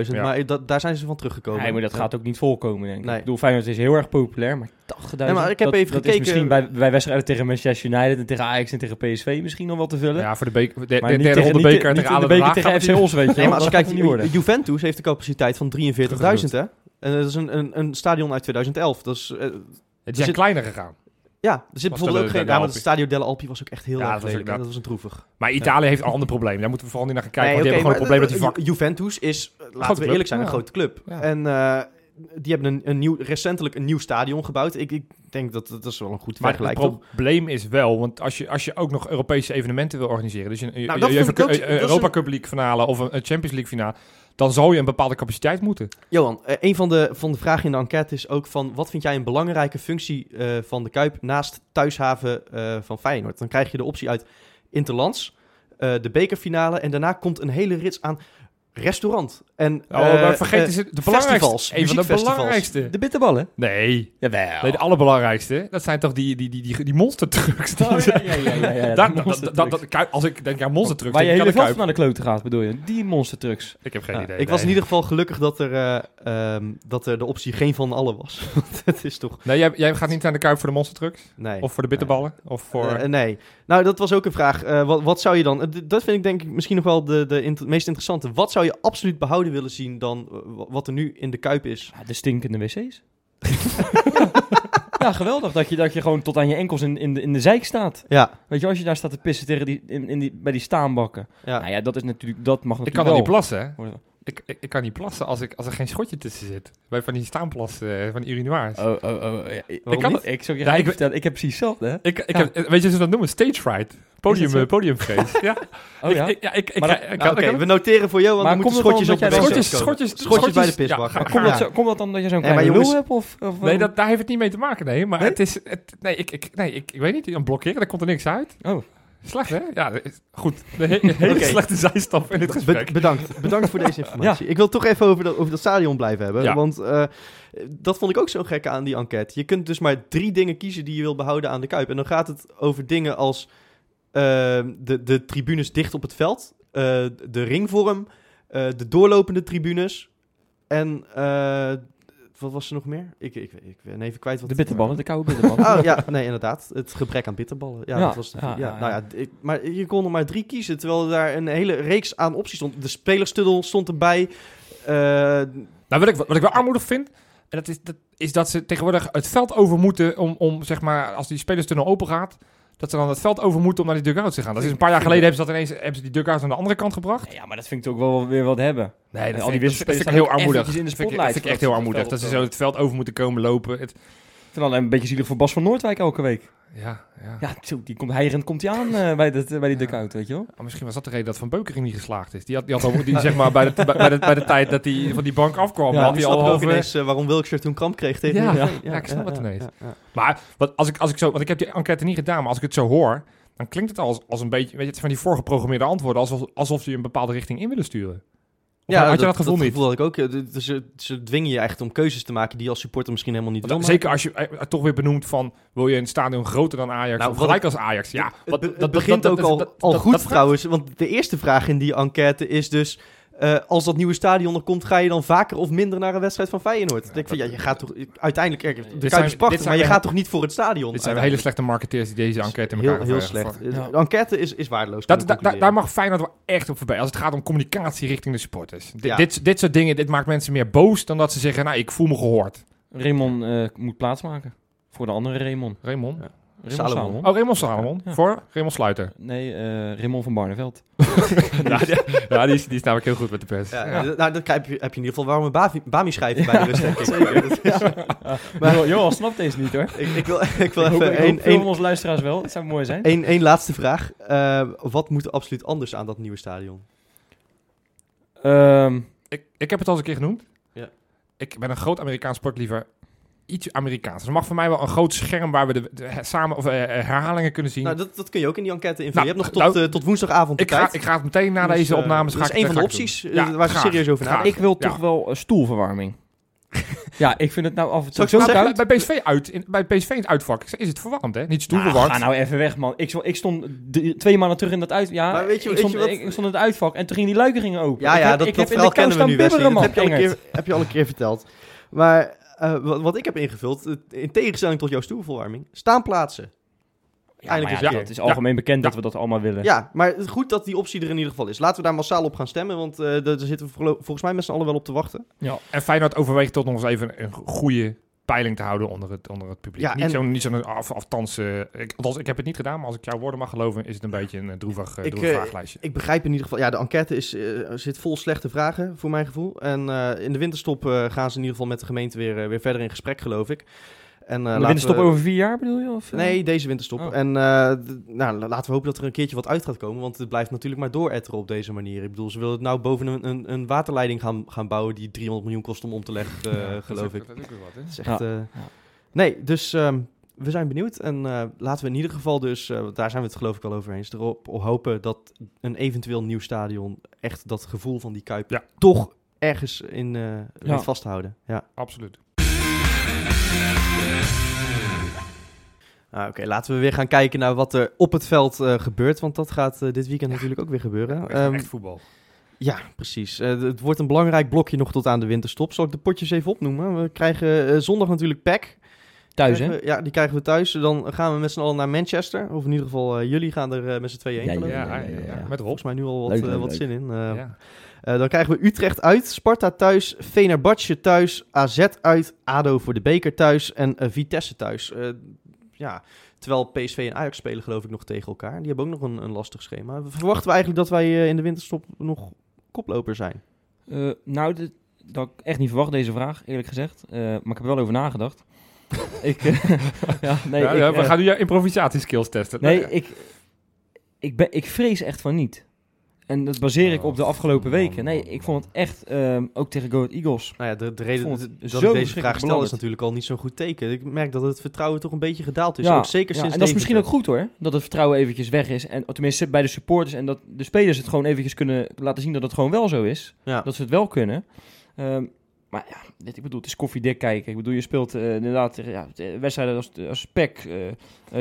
[SPEAKER 2] 80.000.
[SPEAKER 4] Ja.
[SPEAKER 2] Maar dat, daar zijn ze van teruggekomen.
[SPEAKER 3] Nee, maar dat
[SPEAKER 2] Ja.
[SPEAKER 3] gaat ook niet volkomen, denk ik.
[SPEAKER 2] Nee.
[SPEAKER 3] Ik bedoel, Feyenoord is heel erg populair, maar 80.000...
[SPEAKER 2] Nee, maar ik heb
[SPEAKER 3] dat,
[SPEAKER 2] even
[SPEAKER 3] dat
[SPEAKER 2] gekeken.
[SPEAKER 3] is misschien bij, bij wedstrijden tegen Manchester United en tegen Ajax en tegen PSV misschien nog wel te vullen.
[SPEAKER 4] Ja, voor de, beker, de, de
[SPEAKER 3] maar niet
[SPEAKER 4] derde
[SPEAKER 3] tegen,
[SPEAKER 4] ronde
[SPEAKER 3] niet te-
[SPEAKER 4] beker
[SPEAKER 3] niet
[SPEAKER 4] tegen
[SPEAKER 3] in de
[SPEAKER 4] Aden
[SPEAKER 3] beker
[SPEAKER 4] Haag gaat
[SPEAKER 3] tegen
[SPEAKER 4] het
[SPEAKER 3] FC Ons, weet je
[SPEAKER 2] Nee,
[SPEAKER 3] wel.
[SPEAKER 2] maar als je
[SPEAKER 3] Dat
[SPEAKER 2] kijkt,
[SPEAKER 3] gaat niet worden.
[SPEAKER 2] Ju- Juventus heeft een capaciteit van 43.000, hè? En dat is een, een, een stadion uit 2011. Dat is, eh,
[SPEAKER 4] Het zijn
[SPEAKER 2] zit-
[SPEAKER 4] kleiner gegaan.
[SPEAKER 2] ja, er zit
[SPEAKER 4] Was
[SPEAKER 2] bijvoorbeeld
[SPEAKER 4] de-
[SPEAKER 2] ook
[SPEAKER 4] de-
[SPEAKER 2] geen...
[SPEAKER 4] de
[SPEAKER 2] Ja, want
[SPEAKER 4] Alpi.
[SPEAKER 2] het Stadio Delle Alpi was ook echt heel
[SPEAKER 4] Ja, dat
[SPEAKER 2] erg
[SPEAKER 4] was
[SPEAKER 2] lelijk.
[SPEAKER 4] ook
[SPEAKER 2] Dat was een droevig.
[SPEAKER 4] Maar Italië heeft een ander probleem. Daar moeten we vooral niet naar gaan
[SPEAKER 2] Nee,
[SPEAKER 4] kijken. want die
[SPEAKER 2] oké,
[SPEAKER 4] hebben gewoon
[SPEAKER 2] maar
[SPEAKER 4] het probleem dat die vak...
[SPEAKER 2] Ju- Juventus is, eh, laten we
[SPEAKER 4] club.
[SPEAKER 2] eerlijk zijn, een
[SPEAKER 4] Ja.
[SPEAKER 2] grote club.
[SPEAKER 4] Ja.
[SPEAKER 2] En eh, die hebben een, een nieuw, recentelijk een nieuw stadion gebouwd. Ik, ik denk dat dat is wel een goed
[SPEAKER 4] Maar het
[SPEAKER 2] vergelijk, toch?
[SPEAKER 4] probleem is wel, want als je, als je ook nog Europese evenementen wil organiseren, dus een,
[SPEAKER 2] Nou, dat
[SPEAKER 4] een-
[SPEAKER 2] vind
[SPEAKER 4] even
[SPEAKER 2] ik ook-
[SPEAKER 4] een-
[SPEAKER 2] dat
[SPEAKER 4] een
[SPEAKER 2] is
[SPEAKER 4] Europa
[SPEAKER 2] een-
[SPEAKER 4] Cup League finale of een een Champions League finale, dan zal je een bepaalde capaciteit moeten.
[SPEAKER 2] Johan, eh, een van de, van de vragen in de enquête is ook van... wat vind jij een belangrijke functie eh, van de Kuip naast thuishaven eh, van Feyenoord? Dan krijg je de optie uit Interlands, eh, de bekerfinale... en daarna komt een hele rits aan restaurant. En,
[SPEAKER 4] Oh,
[SPEAKER 2] eh,
[SPEAKER 4] maar vergeet
[SPEAKER 2] eh,
[SPEAKER 4] eens de
[SPEAKER 2] festivals,
[SPEAKER 4] belangrijkste, een van de
[SPEAKER 2] muziekfestivals.
[SPEAKER 4] belangrijkste.
[SPEAKER 3] De bitterballen?
[SPEAKER 4] Nee,
[SPEAKER 3] Jawel.
[SPEAKER 4] nee, de allerbelangrijkste. Dat zijn toch die, die, die, die, die monstertrucks. die
[SPEAKER 3] Oh,
[SPEAKER 4] ze-
[SPEAKER 3] ja,
[SPEAKER 4] [LAUGHS]
[SPEAKER 3] ja, ja, ja, ja, de
[SPEAKER 4] Daar- dat-
[SPEAKER 3] monstertrucks.
[SPEAKER 4] dat- dat- dat- Kuip- Als ik denk aan monstertrucks,
[SPEAKER 3] Waar je
[SPEAKER 4] denk ik
[SPEAKER 3] hele
[SPEAKER 4] aan de
[SPEAKER 3] vast
[SPEAKER 4] Kuip.
[SPEAKER 3] naar de klote gaat, bedoel je? Die monstertrucks.
[SPEAKER 4] Ik heb geen
[SPEAKER 2] ja,
[SPEAKER 4] idee.
[SPEAKER 2] ik was in
[SPEAKER 4] nee.
[SPEAKER 2] ieder geval gelukkig dat er, eh, ehm, dat er de optie geen van allen was. [LAUGHS] Want het is toch...
[SPEAKER 4] Nee, jij, jij gaat niet naar de Kuip voor de monstertrucks?
[SPEAKER 2] Nee.
[SPEAKER 4] Of voor de bitterballen? Of voor...
[SPEAKER 2] Eh, eh, nee. Nou, dat was ook een vraag. Eh, wat, wat zou je dan... eh, d- dat vind ik denk ik misschien nog wel de, de int- meest interessante. Wat zou je absoluut behouden willen zien dan eh, wa- wat er nu in de Kuip is?
[SPEAKER 3] Ja, de stinkende wc's. [LAUGHS] ja, geweldig dat je, dat je gewoon tot aan je enkels in, in, de, in de zeik staat.
[SPEAKER 2] Ja.
[SPEAKER 3] Weet je, als je daar staat te pissen tegen die, in, in die, bij die staanbakken.
[SPEAKER 2] Ja.
[SPEAKER 3] Nou ja, dat, is natuurlijk, dat mag
[SPEAKER 4] ik
[SPEAKER 3] natuurlijk
[SPEAKER 4] kan er niet
[SPEAKER 3] wel.
[SPEAKER 4] plassen, hè?
[SPEAKER 3] worden.
[SPEAKER 4] Ik, ik, ik kan niet plassen als, ik, als er geen schotje tussen zit. Bij van die staanplassen, eh, van die urinoirs.
[SPEAKER 3] Oh, oh, oh. ja, ik,
[SPEAKER 4] Waarom
[SPEAKER 3] kan
[SPEAKER 4] niet?
[SPEAKER 3] het- ik zou je
[SPEAKER 4] Ja,
[SPEAKER 3] ja,
[SPEAKER 4] ik-
[SPEAKER 3] vertellen, ik heb precies hetzelfde. hè?
[SPEAKER 4] Ik, ik
[SPEAKER 3] Ja.
[SPEAKER 4] heb, eh, weet je wat ze dat noemen? Stage fright. Podium,
[SPEAKER 3] zo?
[SPEAKER 4] eh, podiumvrees. ja.
[SPEAKER 3] [LAUGHS] Oh ja?
[SPEAKER 4] Ik, ik, ja, ik, ik,
[SPEAKER 3] Maar dat-
[SPEAKER 4] ik-
[SPEAKER 2] Nou,
[SPEAKER 4] ik- ik-
[SPEAKER 2] Oké, we noteren voor jou, want
[SPEAKER 3] Maar
[SPEAKER 2] er moeten
[SPEAKER 3] komt het
[SPEAKER 2] schotjes op
[SPEAKER 3] omdat
[SPEAKER 2] de
[SPEAKER 3] jij
[SPEAKER 2] wc's
[SPEAKER 4] schotjes,
[SPEAKER 2] komen.
[SPEAKER 4] schotjes,
[SPEAKER 2] Schotjes bij de
[SPEAKER 4] ja,
[SPEAKER 2] pisbak.
[SPEAKER 4] ga-
[SPEAKER 2] Maar
[SPEAKER 3] Komt
[SPEAKER 4] ja.
[SPEAKER 3] dat, zo, komt dat dan dat je zo'n
[SPEAKER 2] Nee, maar
[SPEAKER 3] kleine lul
[SPEAKER 2] jongens-
[SPEAKER 3] hebt? Of, of eh?
[SPEAKER 4] Nee,
[SPEAKER 3] waarom?
[SPEAKER 4] dat, daar heeft het niet mee te maken, nee. Maar
[SPEAKER 3] Nee?
[SPEAKER 4] het is... Het, nee, ik, ik, nee ik, ik weet niet. Een blokkeren, daar komt er niks uit.
[SPEAKER 3] Oh.
[SPEAKER 4] Slecht, hè? Ja, dat is- goed. [LAUGHS] De he- hele
[SPEAKER 2] Oké.
[SPEAKER 4] slechte zijstap in dit
[SPEAKER 2] Be-
[SPEAKER 4] gesprek.
[SPEAKER 2] bedankt. Bedankt
[SPEAKER 4] [LAUGHS]
[SPEAKER 2] voor deze informatie. Ik wil toch even over dat, over dat stadion blijven hebben.
[SPEAKER 4] Ja.
[SPEAKER 2] Want eh, dat vond ik ook zo gek aan die enquête. Je kunt dus maar drie dingen kiezen die je wil behouden aan de Kuip. En dan gaat het over dingen als eh, de, de tribunes dicht op het veld, eh, de ringvorm, eh, de doorlopende tribunes en... eh, wat was er nog meer? Ik, ik, ik ben even kwijt wat
[SPEAKER 3] De bitterballen, de koude bitterballen.
[SPEAKER 4] [LAUGHS]
[SPEAKER 2] Oh ja, nee, inderdaad. Het gebrek aan bitterballen. Ja,
[SPEAKER 3] Ja,
[SPEAKER 2] dat was de,
[SPEAKER 3] ja,
[SPEAKER 2] ja,
[SPEAKER 3] ja,
[SPEAKER 2] nou ja, ik- maar je kon er maar drie kiezen, terwijl daar een hele reeks aan opties stond. De spelerstuddel stond erbij. Eh,
[SPEAKER 4] Nou, wat ik, wat ik wel armoedig vind, en dat is, dat is dat ze tegenwoordig het veld over moeten om, om zeg maar, als die spelerstunnel open gaat, dat ze dan het veld over moeten om naar die dugout te gaan. Dat is een paar jaar geleden hebben ze dat ineens, hebben ze die dugout aan de andere kant gebracht.
[SPEAKER 3] Ja, maar dat vind ik ook wel weer wat hebben.
[SPEAKER 4] Nee,
[SPEAKER 3] al die
[SPEAKER 4] vind ik- dat
[SPEAKER 3] wisselspelers
[SPEAKER 4] vind ik
[SPEAKER 3] staan
[SPEAKER 4] heel
[SPEAKER 3] ook
[SPEAKER 4] armoedig.
[SPEAKER 3] eventjes in de
[SPEAKER 4] Dat vind ik- dat
[SPEAKER 3] spotlight
[SPEAKER 4] vind ik echt heel
[SPEAKER 3] voordat ze het
[SPEAKER 4] armoedig. Dat
[SPEAKER 3] veld
[SPEAKER 4] ze zo het veld over moeten komen lopen. Het,
[SPEAKER 3] Terwijl een beetje zielig voor Bas van Noordwijk elke week.
[SPEAKER 4] ja, ja.
[SPEAKER 3] Ja, zo, die komt, hijgerend komt hij aan eh, bij, dat, eh, bij die
[SPEAKER 4] Ja.
[SPEAKER 3] dugout, weet je wel.
[SPEAKER 4] Maar misschien was dat de reden dat Van Beukering niet geslaagd is. Die had, die had al, die, zeg maar, bij de, bij, bij de, bij de tijd dat hij van die bank afkwam,
[SPEAKER 3] Ja,
[SPEAKER 2] nou,
[SPEAKER 4] had
[SPEAKER 2] nu
[SPEAKER 4] hij
[SPEAKER 2] snap
[SPEAKER 4] al
[SPEAKER 2] ik ook
[SPEAKER 4] over-
[SPEAKER 2] ineens eh, waarom Wilkshire toen kramp kreeg tegen
[SPEAKER 4] Ja,
[SPEAKER 2] Heerenveen.
[SPEAKER 4] ja, ik snap het ineens.
[SPEAKER 2] ja.
[SPEAKER 4] Maar wat, als ik, als ik zo, want ik heb die enquête niet gedaan, maar als ik het zo hoor, dan klinkt het als, als een beetje, weet je, het zijn van die voorgeprogrammeerde antwoorden, alsof, alsof ze je een bepaalde richting in willen sturen. Of
[SPEAKER 2] Ja,
[SPEAKER 4] had je dat gevoel niet?
[SPEAKER 2] had ik ook. Eh, d- d- Ze, ze dwingen je echt om keuzes te maken die je als supporter misschien helemaal niet
[SPEAKER 4] Want
[SPEAKER 2] wil
[SPEAKER 4] dan-
[SPEAKER 2] maken.
[SPEAKER 4] zeker als je eh, toch weer benoemt van, wil je een stadion groter dan Ajax
[SPEAKER 2] Nou,
[SPEAKER 4] of
[SPEAKER 2] wat
[SPEAKER 4] gelijk als Ajax? Ja,
[SPEAKER 2] Het
[SPEAKER 4] wat-
[SPEAKER 2] be- het begint ook al, al goed trouwens, want de eerste vraag in die enquête is dus... eh, als dat nieuwe stadion er komt, ga je dan vaker of minder naar een wedstrijd van Feyenoord? ik vind, ja, je gaat toch uiteindelijk, eh, de
[SPEAKER 4] dit
[SPEAKER 2] Kuip is
[SPEAKER 4] zijn- dit
[SPEAKER 2] prachtig,
[SPEAKER 4] zijn
[SPEAKER 2] maar je
[SPEAKER 4] we-
[SPEAKER 2] gaat toch niet voor het stadion?
[SPEAKER 4] Dit zijn
[SPEAKER 2] uiteindelijk?
[SPEAKER 4] hele slechte marketeers die deze enquête in elkaar
[SPEAKER 2] heel, heel
[SPEAKER 4] hebben
[SPEAKER 2] slecht.
[SPEAKER 4] gevangen.
[SPEAKER 3] Ja.
[SPEAKER 2] De enquête is, is waardeloos. kan
[SPEAKER 4] Dat,
[SPEAKER 2] ik
[SPEAKER 4] da- da-
[SPEAKER 2] concluderen.
[SPEAKER 4] daar mag Feyenoord wel echt op voorbij. Als het gaat om communicatie richting de supporters. Dit-
[SPEAKER 2] Ja.
[SPEAKER 4] dit, dit soort dingen, dit maakt mensen meer boos dan dat ze zeggen, nou, ik voel me gehoord.
[SPEAKER 3] Raymond eh, moet plaatsmaken voor de andere Raymond.
[SPEAKER 4] Raymond.
[SPEAKER 2] Ja.
[SPEAKER 3] Raymond
[SPEAKER 2] Salomon.
[SPEAKER 3] Salomon.
[SPEAKER 4] Oh, Raymond Salomon.
[SPEAKER 3] Ja.
[SPEAKER 4] Voor Raymond Sluiter.
[SPEAKER 3] Nee, eh, Raymond van Barneveld. [LAUGHS]
[SPEAKER 4] ja, die, [LAUGHS] ja, die is, die is namelijk heel goed met de pers.
[SPEAKER 2] Ja,
[SPEAKER 4] Ja.
[SPEAKER 2] d- Nou, dan heb je, heb je in ieder geval waarom een Bavi- Bami schrijven bij de rust,
[SPEAKER 4] [LAUGHS]
[SPEAKER 2] denk ik. Dat
[SPEAKER 3] [LAUGHS]
[SPEAKER 2] is- Maar-
[SPEAKER 3] Jo- Johan snapt deze niet hoor.
[SPEAKER 2] ik, ik wil, ik wil
[SPEAKER 3] Ik hoop,
[SPEAKER 2] even
[SPEAKER 3] ik hoop
[SPEAKER 2] één-
[SPEAKER 3] veel
[SPEAKER 2] één
[SPEAKER 3] van onze luisteraars wel. Het zou mooi zijn.
[SPEAKER 2] één- één laatste vraag. Eh, wat moet er absoluut anders aan dat nieuwe stadion?
[SPEAKER 3] Ehm,
[SPEAKER 4] Ik, ik heb het al eens een keer genoemd.
[SPEAKER 2] Ja.
[SPEAKER 4] Ik ben een groot Amerikaans sportliever. Iets Amerikaans. Dus er mag voor mij wel een groot scherm waar we de, de- samen of, eh, herhalingen kunnen zien.
[SPEAKER 2] Nou, dat, dat kun je ook in die enquête invullen.
[SPEAKER 4] Nou,
[SPEAKER 2] je hebt nog
[SPEAKER 4] nou,
[SPEAKER 2] tot, eh, tot woensdagavond de
[SPEAKER 4] ik, ga,
[SPEAKER 2] tijd.
[SPEAKER 4] ik ga het meteen na
[SPEAKER 2] Dus,
[SPEAKER 4] deze
[SPEAKER 2] eh,
[SPEAKER 4] opnames...
[SPEAKER 2] dat
[SPEAKER 4] ga
[SPEAKER 2] is
[SPEAKER 4] ik-
[SPEAKER 2] één van
[SPEAKER 4] ga
[SPEAKER 2] de
[SPEAKER 4] ik doen.
[SPEAKER 2] opties, eh,
[SPEAKER 4] Ja,
[SPEAKER 2] waar ze
[SPEAKER 4] graag,
[SPEAKER 2] serieus over
[SPEAKER 4] graag.
[SPEAKER 2] nadenken.
[SPEAKER 3] ik wil
[SPEAKER 4] Ja.
[SPEAKER 3] toch wel eh, [LAUGHS] stoelverwarming. ja, ik vind het nou af en toe
[SPEAKER 2] Zal ik
[SPEAKER 3] zo
[SPEAKER 2] zo
[SPEAKER 3] koud.
[SPEAKER 4] Bij PSV, uit, in, bij PSV in het uitvak ik zei, is het verwarmd, hè? Niet stoelverwarmd.
[SPEAKER 3] Ah, ga nou even weg, man. Ik, zo- ik stond d- twee maanden terug in dat uit... Ja,
[SPEAKER 2] Maar weet je-
[SPEAKER 3] ik,
[SPEAKER 2] weet
[SPEAKER 3] stond,
[SPEAKER 2] je wat-
[SPEAKER 3] ik, ik stond in het uitvak en toen gingen die luiken gingen open.
[SPEAKER 2] Ja,
[SPEAKER 3] Ik
[SPEAKER 2] ja,
[SPEAKER 3] heb-
[SPEAKER 2] dat,
[SPEAKER 3] ik
[SPEAKER 2] dat
[SPEAKER 3] heb in
[SPEAKER 2] verhaal
[SPEAKER 3] de kou
[SPEAKER 2] kennen we nu,
[SPEAKER 3] staan
[SPEAKER 2] Wesley.
[SPEAKER 3] bibberen,
[SPEAKER 2] Dat heb je, al een
[SPEAKER 3] man,
[SPEAKER 2] keer, heb je al een keer verteld. Maar eh, wat, wat ik heb ingevuld, eh, in tegenstelling tot jouw stoelverwarming, staanplaatsen.
[SPEAKER 3] Ja, maar
[SPEAKER 2] Eindelijk
[SPEAKER 3] ja,
[SPEAKER 4] eens een
[SPEAKER 3] dat is
[SPEAKER 4] keer.
[SPEAKER 3] algemeen bekend dat
[SPEAKER 4] Ja.
[SPEAKER 3] we dat allemaal willen.
[SPEAKER 2] Ja, maar goed dat die optie er in ieder geval is. Laten we daar massaal op gaan stemmen, want eh, daar daar zitten we verlo- volgens mij met z'n allen wel op te wachten.
[SPEAKER 4] Ja. En Feyenoord overweegt tot nog eens even een goede peiling te houden onder het, onder het publiek.
[SPEAKER 2] Ja,
[SPEAKER 4] niet
[SPEAKER 2] en-
[SPEAKER 4] zo'n niet zo'n af, aftans... eh, ik, althans, ik heb het niet gedaan, maar als ik jouw woorden mag geloven... is het een beetje een eh, droevig, eh,
[SPEAKER 2] Ik,
[SPEAKER 4] droevig
[SPEAKER 2] eh,
[SPEAKER 4] vraaglijstje.
[SPEAKER 2] Ik begrijp in ieder geval, ja, de enquête is, eh, zit vol slechte vragen, voor mijn gevoel. En eh, in de winterstop eh, gaan ze in ieder geval met de gemeente weer, eh, weer verder in gesprek, geloof ik. En, eh,
[SPEAKER 3] Maar de
[SPEAKER 2] laten
[SPEAKER 3] winterstop
[SPEAKER 2] we-
[SPEAKER 3] over vier jaar bedoel je? Of, eh?
[SPEAKER 2] Nee, deze winterstop.
[SPEAKER 3] Oh.
[SPEAKER 2] En eh, d- nou, la- laten we hopen dat er een keertje wat uit gaat komen. Want het blijft natuurlijk maar dooretteren op deze manier. Ik bedoel, ze willen het nou boven een, een, een waterleiding gaan, gaan bouwen die 300 miljoen kost om om te
[SPEAKER 3] [LAUGHS]
[SPEAKER 2] leggen, eh, geloof ik. Dat is echt, eh, Nee, dus ehm, we zijn benieuwd. En eh, laten we in ieder geval dus, eh, want daar zijn we het geloof ik al over eens, erop hopen dat een eventueel nieuw stadion echt dat gevoel van die Kuip
[SPEAKER 4] Ja.
[SPEAKER 2] toch ergens in eh weet
[SPEAKER 3] Ja.
[SPEAKER 2] vasthouden. Ja.
[SPEAKER 4] Absoluut.
[SPEAKER 2] Ah, Oké, laten we weer gaan kijken naar wat er op het veld eh, gebeurt. Want dat gaat eh, dit weekend natuurlijk ook weer gebeuren. Ehm,
[SPEAKER 4] echt voetbal.
[SPEAKER 2] Ja, precies. Eh, d- het wordt een belangrijk blokje nog tot aan de winterstop. Zal ik de potjes even opnoemen? We krijgen eh, zondag natuurlijk PEC.
[SPEAKER 3] Thuis, hè?
[SPEAKER 2] Krijgen we- Ja, die krijgen we thuis. Dan gaan we met z'n allen naar Manchester. Of in ieder geval, eh, jullie gaan er eh, met z'n tweeën heen.
[SPEAKER 3] Ja,
[SPEAKER 2] geloof ik.
[SPEAKER 4] Ja,
[SPEAKER 3] ja, ja, ja.
[SPEAKER 4] ja, met Wolfs.
[SPEAKER 2] Volgens mij nu al wat,
[SPEAKER 3] Leuk,
[SPEAKER 2] eh,
[SPEAKER 3] leuk,
[SPEAKER 2] wat
[SPEAKER 3] leuk.
[SPEAKER 2] zin in. Eh,
[SPEAKER 4] ja.
[SPEAKER 2] eh, dan krijgen we Utrecht uit, Sparta thuis, Venerbatje thuis, AZ uit, ADO voor de beker thuis en eh, Vitesse thuis. Eh, ja, terwijl PSV en Ajax spelen geloof ik nog tegen elkaar. Die hebben ook nog een, een lastig schema. Verwachten we eigenlijk dat wij eh, in de winterstop nog koploper zijn?
[SPEAKER 3] Eh, nou, dit- dat had ik echt niet verwacht, deze vraag, eerlijk gezegd. Eh, maar ik heb er wel over
[SPEAKER 2] [LAUGHS]
[SPEAKER 3] nagedacht. ik, eh, [LAUGHS] ja, nee,
[SPEAKER 4] Ja,
[SPEAKER 3] ik,
[SPEAKER 4] ja, we
[SPEAKER 3] eh,
[SPEAKER 4] gaan nu jouw improvisatieskills testen.
[SPEAKER 3] nee
[SPEAKER 4] Nou,
[SPEAKER 3] ik, ik, ben, ik vrees echt van niet. En dat baseer
[SPEAKER 2] Oh,
[SPEAKER 3] ik op de afgelopen
[SPEAKER 4] man,
[SPEAKER 3] weken. Nee,
[SPEAKER 4] man,
[SPEAKER 3] ik vond het echt, ehm, ook tegen Go Ahead Eagles.
[SPEAKER 2] Nou ja, de, de
[SPEAKER 3] vond
[SPEAKER 2] reden
[SPEAKER 3] het
[SPEAKER 2] dat
[SPEAKER 3] zo
[SPEAKER 2] ik deze
[SPEAKER 3] verschrikkelijk
[SPEAKER 2] vraag stel is
[SPEAKER 3] belangrijk.
[SPEAKER 2] natuurlijk al niet zo'n goed teken. Ik merk dat het vertrouwen toch een beetje gedaald is.
[SPEAKER 3] Ja,
[SPEAKER 2] ook Dus zeker
[SPEAKER 3] ja,
[SPEAKER 2] sinds
[SPEAKER 3] en dat is misschien ook
[SPEAKER 2] Deventer.
[SPEAKER 3] goed hoor, dat het vertrouwen eventjes weg is. En tenminste bij de supporters en dat de spelers het gewoon eventjes kunnen laten zien dat het gewoon wel zo is.
[SPEAKER 2] Ja.
[SPEAKER 3] dat ze het wel kunnen. Ehm, maar ja, dit, ik bedoel, het is koffiedik kijken. Ik bedoel, je speelt eh, inderdaad tegen, ja, eh, wedstrijden als, als PEC, eh, eh,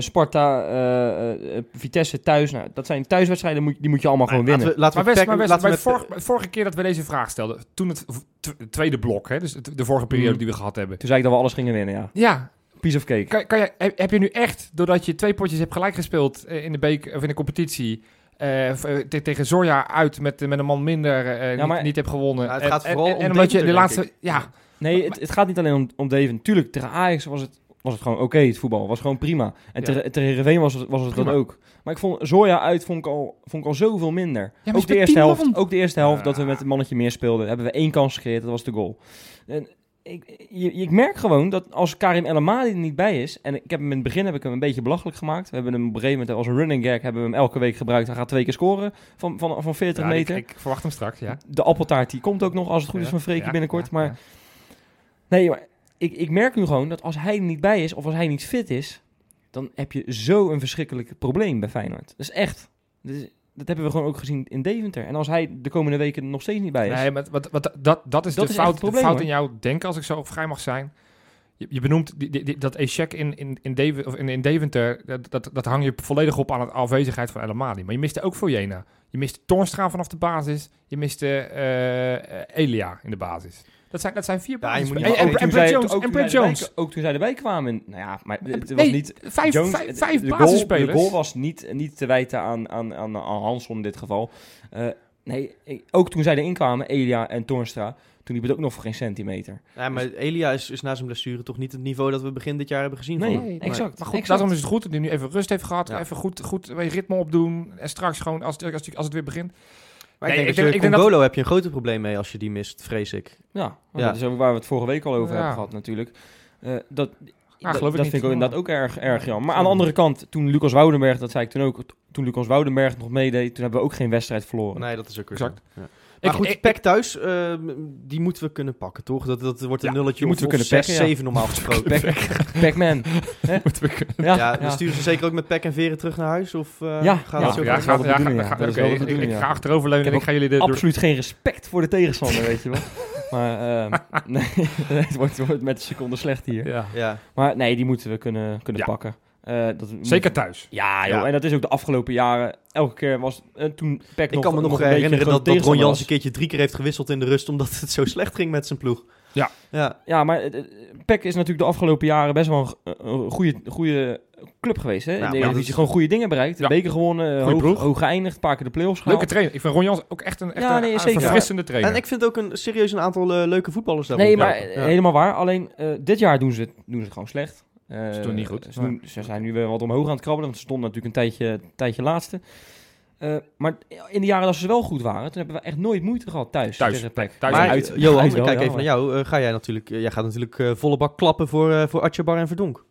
[SPEAKER 3] Sparta, eh, eh, eh, Vitesse thuis. Nou, dat zijn thuiswedstrijden, moet- die moet je allemaal gewoon
[SPEAKER 2] Laten
[SPEAKER 3] winnen.
[SPEAKER 2] we, laten
[SPEAKER 4] Maar
[SPEAKER 2] we
[SPEAKER 4] Wes,
[SPEAKER 2] Peck-
[SPEAKER 4] maar Wes,
[SPEAKER 2] laten
[SPEAKER 4] bij
[SPEAKER 2] we
[SPEAKER 4] het vorige, bij het vorige keer dat we deze vraag stelden, toen het v- tw- het tweede blok, hè, dus het- de vorige periode
[SPEAKER 3] Mm.
[SPEAKER 4] die we gehad hebben.
[SPEAKER 3] Toen zei ik dat we alles gingen winnen, ja.
[SPEAKER 4] Ja,
[SPEAKER 3] Piece of cake.
[SPEAKER 4] kan, kan je, heb, heb je nu echt, doordat je twee potjes hebt gelijk gespeeld eh, in de, beek, of in de competitie, eh, v- eh, te- tegen Zorja uit met, eh, met een man minder, eh, niet-
[SPEAKER 3] maar-
[SPEAKER 4] niet, hebt gewonnen.
[SPEAKER 2] Ja, het
[SPEAKER 4] En-
[SPEAKER 2] gaat
[SPEAKER 4] en-
[SPEAKER 2] vooral
[SPEAKER 4] en,
[SPEAKER 2] om
[SPEAKER 4] en omdat je de
[SPEAKER 2] Deventer, denk
[SPEAKER 4] laatste, ja,
[SPEAKER 3] Nee, het, het gaat niet alleen om, om Deventer. Tuurlijk, tegen Ajax was het, was het gewoon oké, het voetbal. was gewoon prima.
[SPEAKER 4] Ja.
[SPEAKER 3] En tegen tegen Heerenveen was het, was het dat
[SPEAKER 4] Prima.
[SPEAKER 3] ook. Maar ik vond Zoya uit vond ik al, vond ik al zoveel minder.
[SPEAKER 4] maar
[SPEAKER 3] ook,
[SPEAKER 4] ze
[SPEAKER 3] de
[SPEAKER 4] met
[SPEAKER 3] eerste
[SPEAKER 4] tien
[SPEAKER 3] helft,
[SPEAKER 4] man.
[SPEAKER 3] ook de eerste helft dat we
[SPEAKER 4] Ah.
[SPEAKER 3] met een mannetje meer speelden. Hebben we één kans gecreëerd, dat was de goal. En ik, je- ik merk gewoon dat als Karim El Amadi er niet bij is... En ik heb hem in het begin heb ik hem een beetje belachelijk gemaakt. We hebben hem op een gegeven moment als een running gag hebben we hem elke week gebruikt. Hij gaat twee keer scoren van, van, van 40
[SPEAKER 4] ja, ik,
[SPEAKER 3] meter.
[SPEAKER 4] ik verwacht hem straks, ja.
[SPEAKER 3] De appeltaart die komt ook nog als het goed is van Freekje
[SPEAKER 4] Ja,
[SPEAKER 3] binnenkort.
[SPEAKER 4] ja,
[SPEAKER 3] maar
[SPEAKER 4] ja.
[SPEAKER 3] Nee, maar ik, ik merk nu gewoon dat als hij er niet bij is of als hij niet fit is, dan heb je zo'n verschrikkelijk probleem bij Feyenoord. Dat is echt. Dat, is- dat hebben we gewoon ook gezien in Deventer. En als hij de komende weken nog steeds niet bij is.
[SPEAKER 4] Nee, maar wat, wat, dat, dat is
[SPEAKER 3] Dat
[SPEAKER 4] de
[SPEAKER 3] is
[SPEAKER 4] fout,
[SPEAKER 3] echt het probleem,
[SPEAKER 4] de fout
[SPEAKER 3] hoor.
[SPEAKER 4] in jouw denken, als ik zo vrij mag zijn. Je, je benoemt die, die- die- dat Echec in, in, in, Deven- of in, in Deventer, dat, dat, dat hang je volledig op aan de afwezigheid van El Amadi. Maar je miste ook voor Jena. Je miste Tornstra vanaf de basis. Je miste eh, eh, Elia in de basis. Dat zijn, dat zijn vier
[SPEAKER 2] Ja, je
[SPEAKER 4] basis.
[SPEAKER 2] moet
[SPEAKER 4] en
[SPEAKER 2] niet-
[SPEAKER 4] en-
[SPEAKER 2] ook
[SPEAKER 4] en
[SPEAKER 3] toen
[SPEAKER 4] Brent
[SPEAKER 3] zij-
[SPEAKER 4] Jones.
[SPEAKER 3] ook
[SPEAKER 4] En
[SPEAKER 3] toen
[SPEAKER 4] Brent
[SPEAKER 3] zij erbij
[SPEAKER 4] Jones.
[SPEAKER 3] k- Ook toen zij erbij kwamen. Nou ja, maar het was
[SPEAKER 4] Nee,
[SPEAKER 3] niet...
[SPEAKER 4] Vijf,
[SPEAKER 3] Jones,
[SPEAKER 4] vijf, vijf
[SPEAKER 3] de, goal, de
[SPEAKER 4] basisspelers.
[SPEAKER 3] goal was niet, niet te wijten aan, aan, aan, aan Hanson in dit geval. Eh, nee, ik- ook toen zij erin kwamen, Elia en Tornstra, toen liep het ook nog voor geen centimeter.
[SPEAKER 2] Ja, maar Elia is, is na zijn blessure toch niet het niveau dat we begin dit jaar hebben gezien.
[SPEAKER 3] Nee,
[SPEAKER 2] van hem.
[SPEAKER 3] exact.
[SPEAKER 4] Maar goed,
[SPEAKER 3] exact.
[SPEAKER 4] daarom is het goed dat hij nu even rust heeft gehad.
[SPEAKER 2] Ja.
[SPEAKER 4] Even goed, goed weer ritme opdoen. En straks gewoon, als, het- als, het- als het weer begint.
[SPEAKER 2] Maar
[SPEAKER 4] Nee,
[SPEAKER 2] ik denk
[SPEAKER 4] ik
[SPEAKER 2] dat
[SPEAKER 4] denk- ik
[SPEAKER 2] je
[SPEAKER 4] denk dat-
[SPEAKER 2] Congolo heb je een groter probleem mee als je die mist, vrees ik.
[SPEAKER 3] Ja, maar
[SPEAKER 2] Ja.
[SPEAKER 3] dat is ook waar we het vorige week al over
[SPEAKER 4] Ja.
[SPEAKER 3] hebben gehad natuurlijk. Eh, dat
[SPEAKER 4] Ja,
[SPEAKER 3] dat,
[SPEAKER 4] geloof ik
[SPEAKER 3] dat
[SPEAKER 4] niet.
[SPEAKER 3] vind ik ook inderdaad ook erg, erg jammer. Maar aan de
[SPEAKER 4] Ja.
[SPEAKER 3] andere kant, toen Lucas Woudenberg, dat zei ik toen ook, toen Lucas Woudenberg nog meedeed, toen hebben we ook geen wedstrijd verloren.
[SPEAKER 2] Nee, dat is ook weer
[SPEAKER 4] Exact.
[SPEAKER 2] zo. Ja. Maar
[SPEAKER 4] Ik-
[SPEAKER 2] goed,
[SPEAKER 4] ik-
[SPEAKER 2] PEC thuis, eh, die moeten we kunnen pakken, toch? Dat, dat wordt een
[SPEAKER 4] Ja,
[SPEAKER 2] nulletje
[SPEAKER 3] die moeten
[SPEAKER 2] of,
[SPEAKER 3] we
[SPEAKER 2] of
[SPEAKER 3] kunnen
[SPEAKER 2] zes,
[SPEAKER 3] packen, ja.
[SPEAKER 2] zeven
[SPEAKER 3] [LAUGHS]
[SPEAKER 2] normaal gesproken.
[SPEAKER 4] [LAUGHS]
[SPEAKER 3] Pac- Pac-Man. Hè? Ja,
[SPEAKER 2] ja,
[SPEAKER 3] ja.
[SPEAKER 2] we sturen ze zeker ook met PEC en Veren terug naar huis? Of eh,
[SPEAKER 3] Ja,
[SPEAKER 2] gaan we
[SPEAKER 3] ja.
[SPEAKER 2] het zo
[SPEAKER 3] Ja,
[SPEAKER 2] doen?
[SPEAKER 3] gaat- de bedoeling, ja.
[SPEAKER 4] ga-
[SPEAKER 3] Dat is
[SPEAKER 4] oké,
[SPEAKER 3] wel de
[SPEAKER 4] ik-
[SPEAKER 3] bedoeling,
[SPEAKER 4] Ik
[SPEAKER 3] ja.
[SPEAKER 4] ga achteroverleunen en
[SPEAKER 3] Ik
[SPEAKER 4] ik ga jullie de... door-
[SPEAKER 3] absoluut geen respect voor de tegenstander, weet je wel. Maar ehm, [LAUGHS] nee, het wordt, het wordt met een seconde slecht hier.
[SPEAKER 4] Ja.
[SPEAKER 2] Ja.
[SPEAKER 3] Maar nee, die moeten we kunnen, kunnen
[SPEAKER 4] Ja.
[SPEAKER 3] pakken. Eh, dat we
[SPEAKER 4] Zeker
[SPEAKER 3] moeten-
[SPEAKER 4] thuis.
[SPEAKER 3] Ja, joh.
[SPEAKER 2] Ja.
[SPEAKER 3] En dat is ook de afgelopen jaren. Elke keer was eh, toen Peck
[SPEAKER 2] Ik
[SPEAKER 3] nog
[SPEAKER 2] kan me nog
[SPEAKER 3] een beetje
[SPEAKER 2] herinneren
[SPEAKER 3] een
[SPEAKER 2] dat, dat Ron
[SPEAKER 3] grote tegenstander
[SPEAKER 2] Jans
[SPEAKER 3] was.
[SPEAKER 2] een keertje drie keer heeft gewisseld in de rust... omdat het zo slecht ging met zijn ploeg.
[SPEAKER 4] Ja.
[SPEAKER 2] ja.
[SPEAKER 3] Ja, maar eh, eh, PEC is natuurlijk de afgelopen jaren best wel een g- eh, een goede, goede club geweest. Hè?
[SPEAKER 2] Ja,
[SPEAKER 3] In
[SPEAKER 2] maar
[SPEAKER 3] de
[SPEAKER 2] dat
[SPEAKER 3] Eredivisie
[SPEAKER 2] is-
[SPEAKER 3] gewoon goede dingen bereikt.
[SPEAKER 4] Ja.
[SPEAKER 3] Beker gewonnen, eh,
[SPEAKER 4] Goeie
[SPEAKER 3] hoog,
[SPEAKER 4] ploeg.
[SPEAKER 3] hoog geëindigd, een paar keer de play-offs gehaald.
[SPEAKER 4] Leuke trainer. Ik vind Ron Jans ook echt een, echt
[SPEAKER 3] Nou, Ja,
[SPEAKER 4] een-
[SPEAKER 3] nee,
[SPEAKER 4] een
[SPEAKER 3] zeker.
[SPEAKER 4] verfrissende trainer.
[SPEAKER 2] En ik vind ook een, serieus een aantal eh, leuke voetballers daarop.
[SPEAKER 3] Nee, maar eh,
[SPEAKER 2] Ja.
[SPEAKER 3] helemaal waar. Alleen eh, dit jaar doen ze het, doen ze het gewoon slecht. Eh,
[SPEAKER 4] Ze doen niet goed.
[SPEAKER 3] Ze, doen- ze zijn nu weer wat omhoog aan het krabbelen. Want ze stonden natuurlijk een tijdje, een tijdje laatste. Eh, maar in de jaren dat ze wel goed waren, toen hebben we echt nooit moeite gehad thuis.
[SPEAKER 4] Thuis.
[SPEAKER 3] tegen PEC.
[SPEAKER 4] Thuis.
[SPEAKER 2] Maar
[SPEAKER 3] Uit-
[SPEAKER 2] eh, Johan,
[SPEAKER 3] uit
[SPEAKER 2] ik
[SPEAKER 3] wel,
[SPEAKER 2] kijk
[SPEAKER 3] ja,
[SPEAKER 2] even naar jou. Eh, ga jij, natuurlijk, eh, jij gaat natuurlijk eh, volle bak klappen voor, eh voor Atjebar en Verdonk.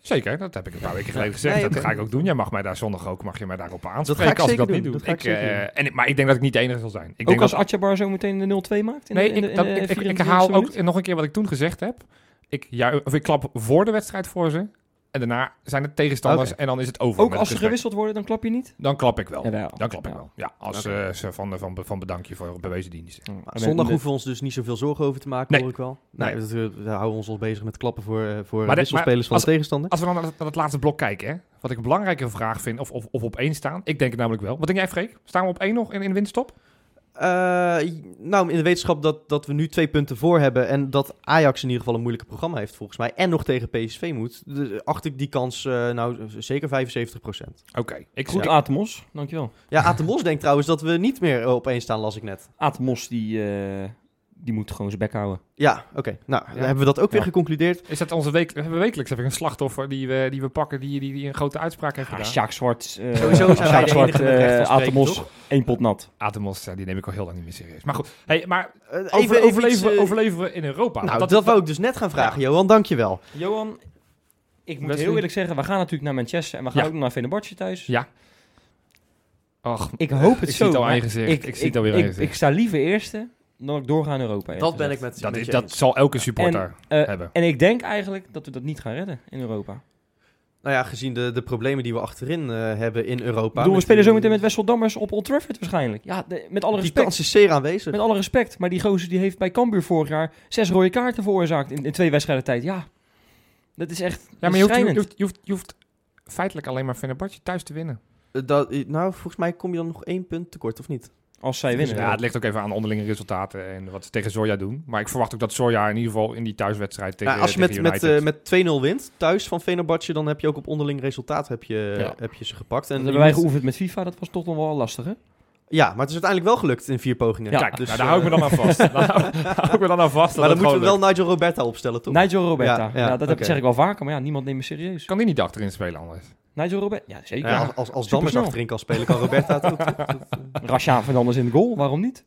[SPEAKER 4] Zeker, dat heb ik een paar weken geleden gezegd.
[SPEAKER 2] Nee,
[SPEAKER 4] dat
[SPEAKER 2] oké.
[SPEAKER 4] ga ik ook doen. Jij mag mij daar zondag ook, mag je mij daarop
[SPEAKER 2] Dat ga
[SPEAKER 4] aanspreken
[SPEAKER 2] ik
[SPEAKER 4] als ik
[SPEAKER 2] zeker
[SPEAKER 4] dat niet
[SPEAKER 2] doen.
[SPEAKER 4] doe.
[SPEAKER 2] Dat ga ik
[SPEAKER 4] Ik,
[SPEAKER 2] zeker
[SPEAKER 4] eh,
[SPEAKER 2] doen.
[SPEAKER 4] en, ik- maar ik denk dat ik niet de enige zal zijn. Ik denk
[SPEAKER 3] Ook als
[SPEAKER 4] dat-
[SPEAKER 3] Atjabar zo meteen de 0-2 maakt? In de-
[SPEAKER 4] Nee,
[SPEAKER 3] in
[SPEAKER 4] ik,
[SPEAKER 3] de- in
[SPEAKER 4] dat,
[SPEAKER 3] de
[SPEAKER 4] ik, ik, ik
[SPEAKER 3] 24e
[SPEAKER 4] haal
[SPEAKER 3] minuut?
[SPEAKER 4] ook nog een keer wat ik toen gezegd heb. Ik, ju- of ik klap voor de wedstrijd voor ze. En daarna zijn het tegenstanders
[SPEAKER 2] Oké.
[SPEAKER 4] en dan is het over.
[SPEAKER 3] Ook
[SPEAKER 4] met
[SPEAKER 3] als ze
[SPEAKER 4] respect.
[SPEAKER 3] gewisseld worden, dan klap je niet?
[SPEAKER 4] Dan klap ik wel.
[SPEAKER 3] Jawel.
[SPEAKER 4] Dan klap ik
[SPEAKER 3] Ja.
[SPEAKER 4] wel. Ja, als
[SPEAKER 2] Oké.
[SPEAKER 4] eh, ze van, van, van bedankje voor bewezen diensten.
[SPEAKER 2] Maar Zondag
[SPEAKER 3] hoeft.
[SPEAKER 2] hoeven we ons dus niet zoveel zorgen over te maken,
[SPEAKER 4] Nee.
[SPEAKER 2] hoor ik wel.
[SPEAKER 4] Nee.
[SPEAKER 2] Nee, dat, eh, we houden ons al bezig met klappen voor, eh, voor
[SPEAKER 4] dit-
[SPEAKER 2] wisselspelers van
[SPEAKER 4] maar
[SPEAKER 2] de tegenstander.
[SPEAKER 4] Als we dan naar het, naar het laatste blok kijken, hè, wat ik een belangrijke vraag vind, of, of, of op één staan. Ik denk het namelijk wel. Wat denk jij, Freek? Staan we op één nog in, in de winststop?
[SPEAKER 2] Eh, j- nou, in de wetenschap dat, dat we nu twee punten voor hebben en dat Ajax in ieder geval een moeilijke programma heeft volgens mij en nog tegen PSV moet, de- acht ik die kans eh, nou z- zeker 75%.
[SPEAKER 4] Oké. Ik
[SPEAKER 3] Goed,
[SPEAKER 4] ja.
[SPEAKER 3] Atemos. Dankjewel.
[SPEAKER 2] Ja, [LAUGHS] Atemos denkt trouwens dat we niet meer eh, op één staan, las ik net.
[SPEAKER 3] Atemos, die, eh, die moet gewoon zijn bek houden.
[SPEAKER 2] Ja, oké. Nou, dan hebben we dat ook weer
[SPEAKER 3] Ja.
[SPEAKER 2] geconcludeerd.
[SPEAKER 4] Is dat onze week, we hebben wekelijks heb ik een slachtoffer die we, die we pakken, die, die, die een grote uitspraak heeft
[SPEAKER 3] Ja,
[SPEAKER 4] gedaan?
[SPEAKER 3] Sjaak Zwart. [LAUGHS] eh,
[SPEAKER 2] Sowieso zijn wij
[SPEAKER 3] Sjaak
[SPEAKER 2] de
[SPEAKER 3] Zwart,
[SPEAKER 2] enige met recht van
[SPEAKER 3] eh,
[SPEAKER 2] spreken,
[SPEAKER 3] Atemos,
[SPEAKER 2] toch?
[SPEAKER 3] één pot nat.
[SPEAKER 4] Atemos, eh, die neem ik al heel lang niet meer serieus. Maar goed, hey, maar
[SPEAKER 2] Eh, even,
[SPEAKER 4] over,
[SPEAKER 2] even
[SPEAKER 4] overleven,
[SPEAKER 2] iets, eh,
[SPEAKER 4] overleven we in Europa?
[SPEAKER 2] Nou, dat,
[SPEAKER 4] Want
[SPEAKER 2] wou ik dus net gaan vragen, Johan. Dankjewel.
[SPEAKER 3] Johan, ik moet
[SPEAKER 4] Wesley?
[SPEAKER 3] heel eerlijk zeggen, we gaan natuurlijk naar Manchester en we gaan
[SPEAKER 4] Ja.
[SPEAKER 3] ook nog naar Fenerbahce thuis.
[SPEAKER 4] Ja. Och,
[SPEAKER 3] Ik hoop het
[SPEAKER 4] Ik
[SPEAKER 3] zo.
[SPEAKER 4] zie het al aan
[SPEAKER 3] maar
[SPEAKER 4] je gezicht. Ik zie het alweer
[SPEAKER 3] ik,
[SPEAKER 4] aan je
[SPEAKER 3] ik,
[SPEAKER 4] gezicht.
[SPEAKER 3] ik sta liever eerste dan ik doorga in Europa. eerlijk gezegd.
[SPEAKER 2] met,
[SPEAKER 4] dat, is, dat zal elke supporter
[SPEAKER 3] En, eh,
[SPEAKER 4] hebben.
[SPEAKER 3] En ik denk eigenlijk dat we dat niet gaan redden in Europa. Ik
[SPEAKER 2] Nou ja, gezien de, de problemen die we achterin eh, hebben in Europa.
[SPEAKER 3] bedoel, we
[SPEAKER 2] met
[SPEAKER 3] spelen
[SPEAKER 2] die-
[SPEAKER 3] zometeen met Wessel Dammers op Old Trafford waarschijnlijk. Ja, de- met alle
[SPEAKER 2] Die
[SPEAKER 3] respect.
[SPEAKER 2] kans is zeer aanwezig.
[SPEAKER 3] Met alle respect, maar die gozer die heeft bij Cambuur vorig jaar zes rode kaarten veroorzaakt in, in twee wedstrijden tijd. Ja, dat is echt
[SPEAKER 4] Ja,
[SPEAKER 3] ja,
[SPEAKER 4] maar je hoeft, je, hoeft, je, hoeft, je hoeft feitelijk alleen maar Fenerbahce thuis te winnen.
[SPEAKER 2] Eh, Dat, eh, nou, volgens mij kom je dan nog één punt tekort, of niet?
[SPEAKER 3] Als zij
[SPEAKER 4] Dus
[SPEAKER 3] winnen.
[SPEAKER 4] ja, het ligt ook even aan de onderlinge resultaten en wat ze tegen Zorja doen. Maar ik verwacht ook dat Zorja in ieder geval in die thuiswedstrijd tegen,
[SPEAKER 2] Nou, als je met,
[SPEAKER 4] tegen
[SPEAKER 2] met,
[SPEAKER 4] United...
[SPEAKER 2] eh, met 2-0 wint, thuis van Fenerbahce, dan heb je ook op onderling resultaat heb je,
[SPEAKER 4] Ja.
[SPEAKER 2] heb je ze gepakt.
[SPEAKER 3] en
[SPEAKER 2] En
[SPEAKER 3] hebben wij
[SPEAKER 2] je moet-
[SPEAKER 3] geoefend met FIFA, dat was toch nog wel lastig, hè?
[SPEAKER 2] ja, maar het is uiteindelijk wel gelukt in vier pogingen.
[SPEAKER 3] Ja.
[SPEAKER 4] Kijk,
[SPEAKER 2] dus,
[SPEAKER 4] nou, daar hou ik me dan aan vast. daar hou- hou ik me dan aan vast. dat
[SPEAKER 2] [LAUGHS] maar dan
[SPEAKER 4] het
[SPEAKER 2] moeten we
[SPEAKER 4] gewoon
[SPEAKER 2] wel Nigel Roberta opstellen, toch?
[SPEAKER 3] Nigel Roberta. Ja,
[SPEAKER 2] Ja, ja,
[SPEAKER 3] dat heb-
[SPEAKER 2] oké.
[SPEAKER 3] zeg ik al vaker, maar ja, niemand neemt me serieus.
[SPEAKER 4] lukt. Kan die niet achterin spelen anders?
[SPEAKER 3] Nigel Roberta, ja zeker.
[SPEAKER 2] Ja, als als, als Dammers
[SPEAKER 3] Supersnel.
[SPEAKER 2] achterin kan spelen, kan Roberta het ook. Dat- dat-
[SPEAKER 3] Rashaan Fernandes in de goal, waarom
[SPEAKER 4] [LAUGHS]
[SPEAKER 3] niet?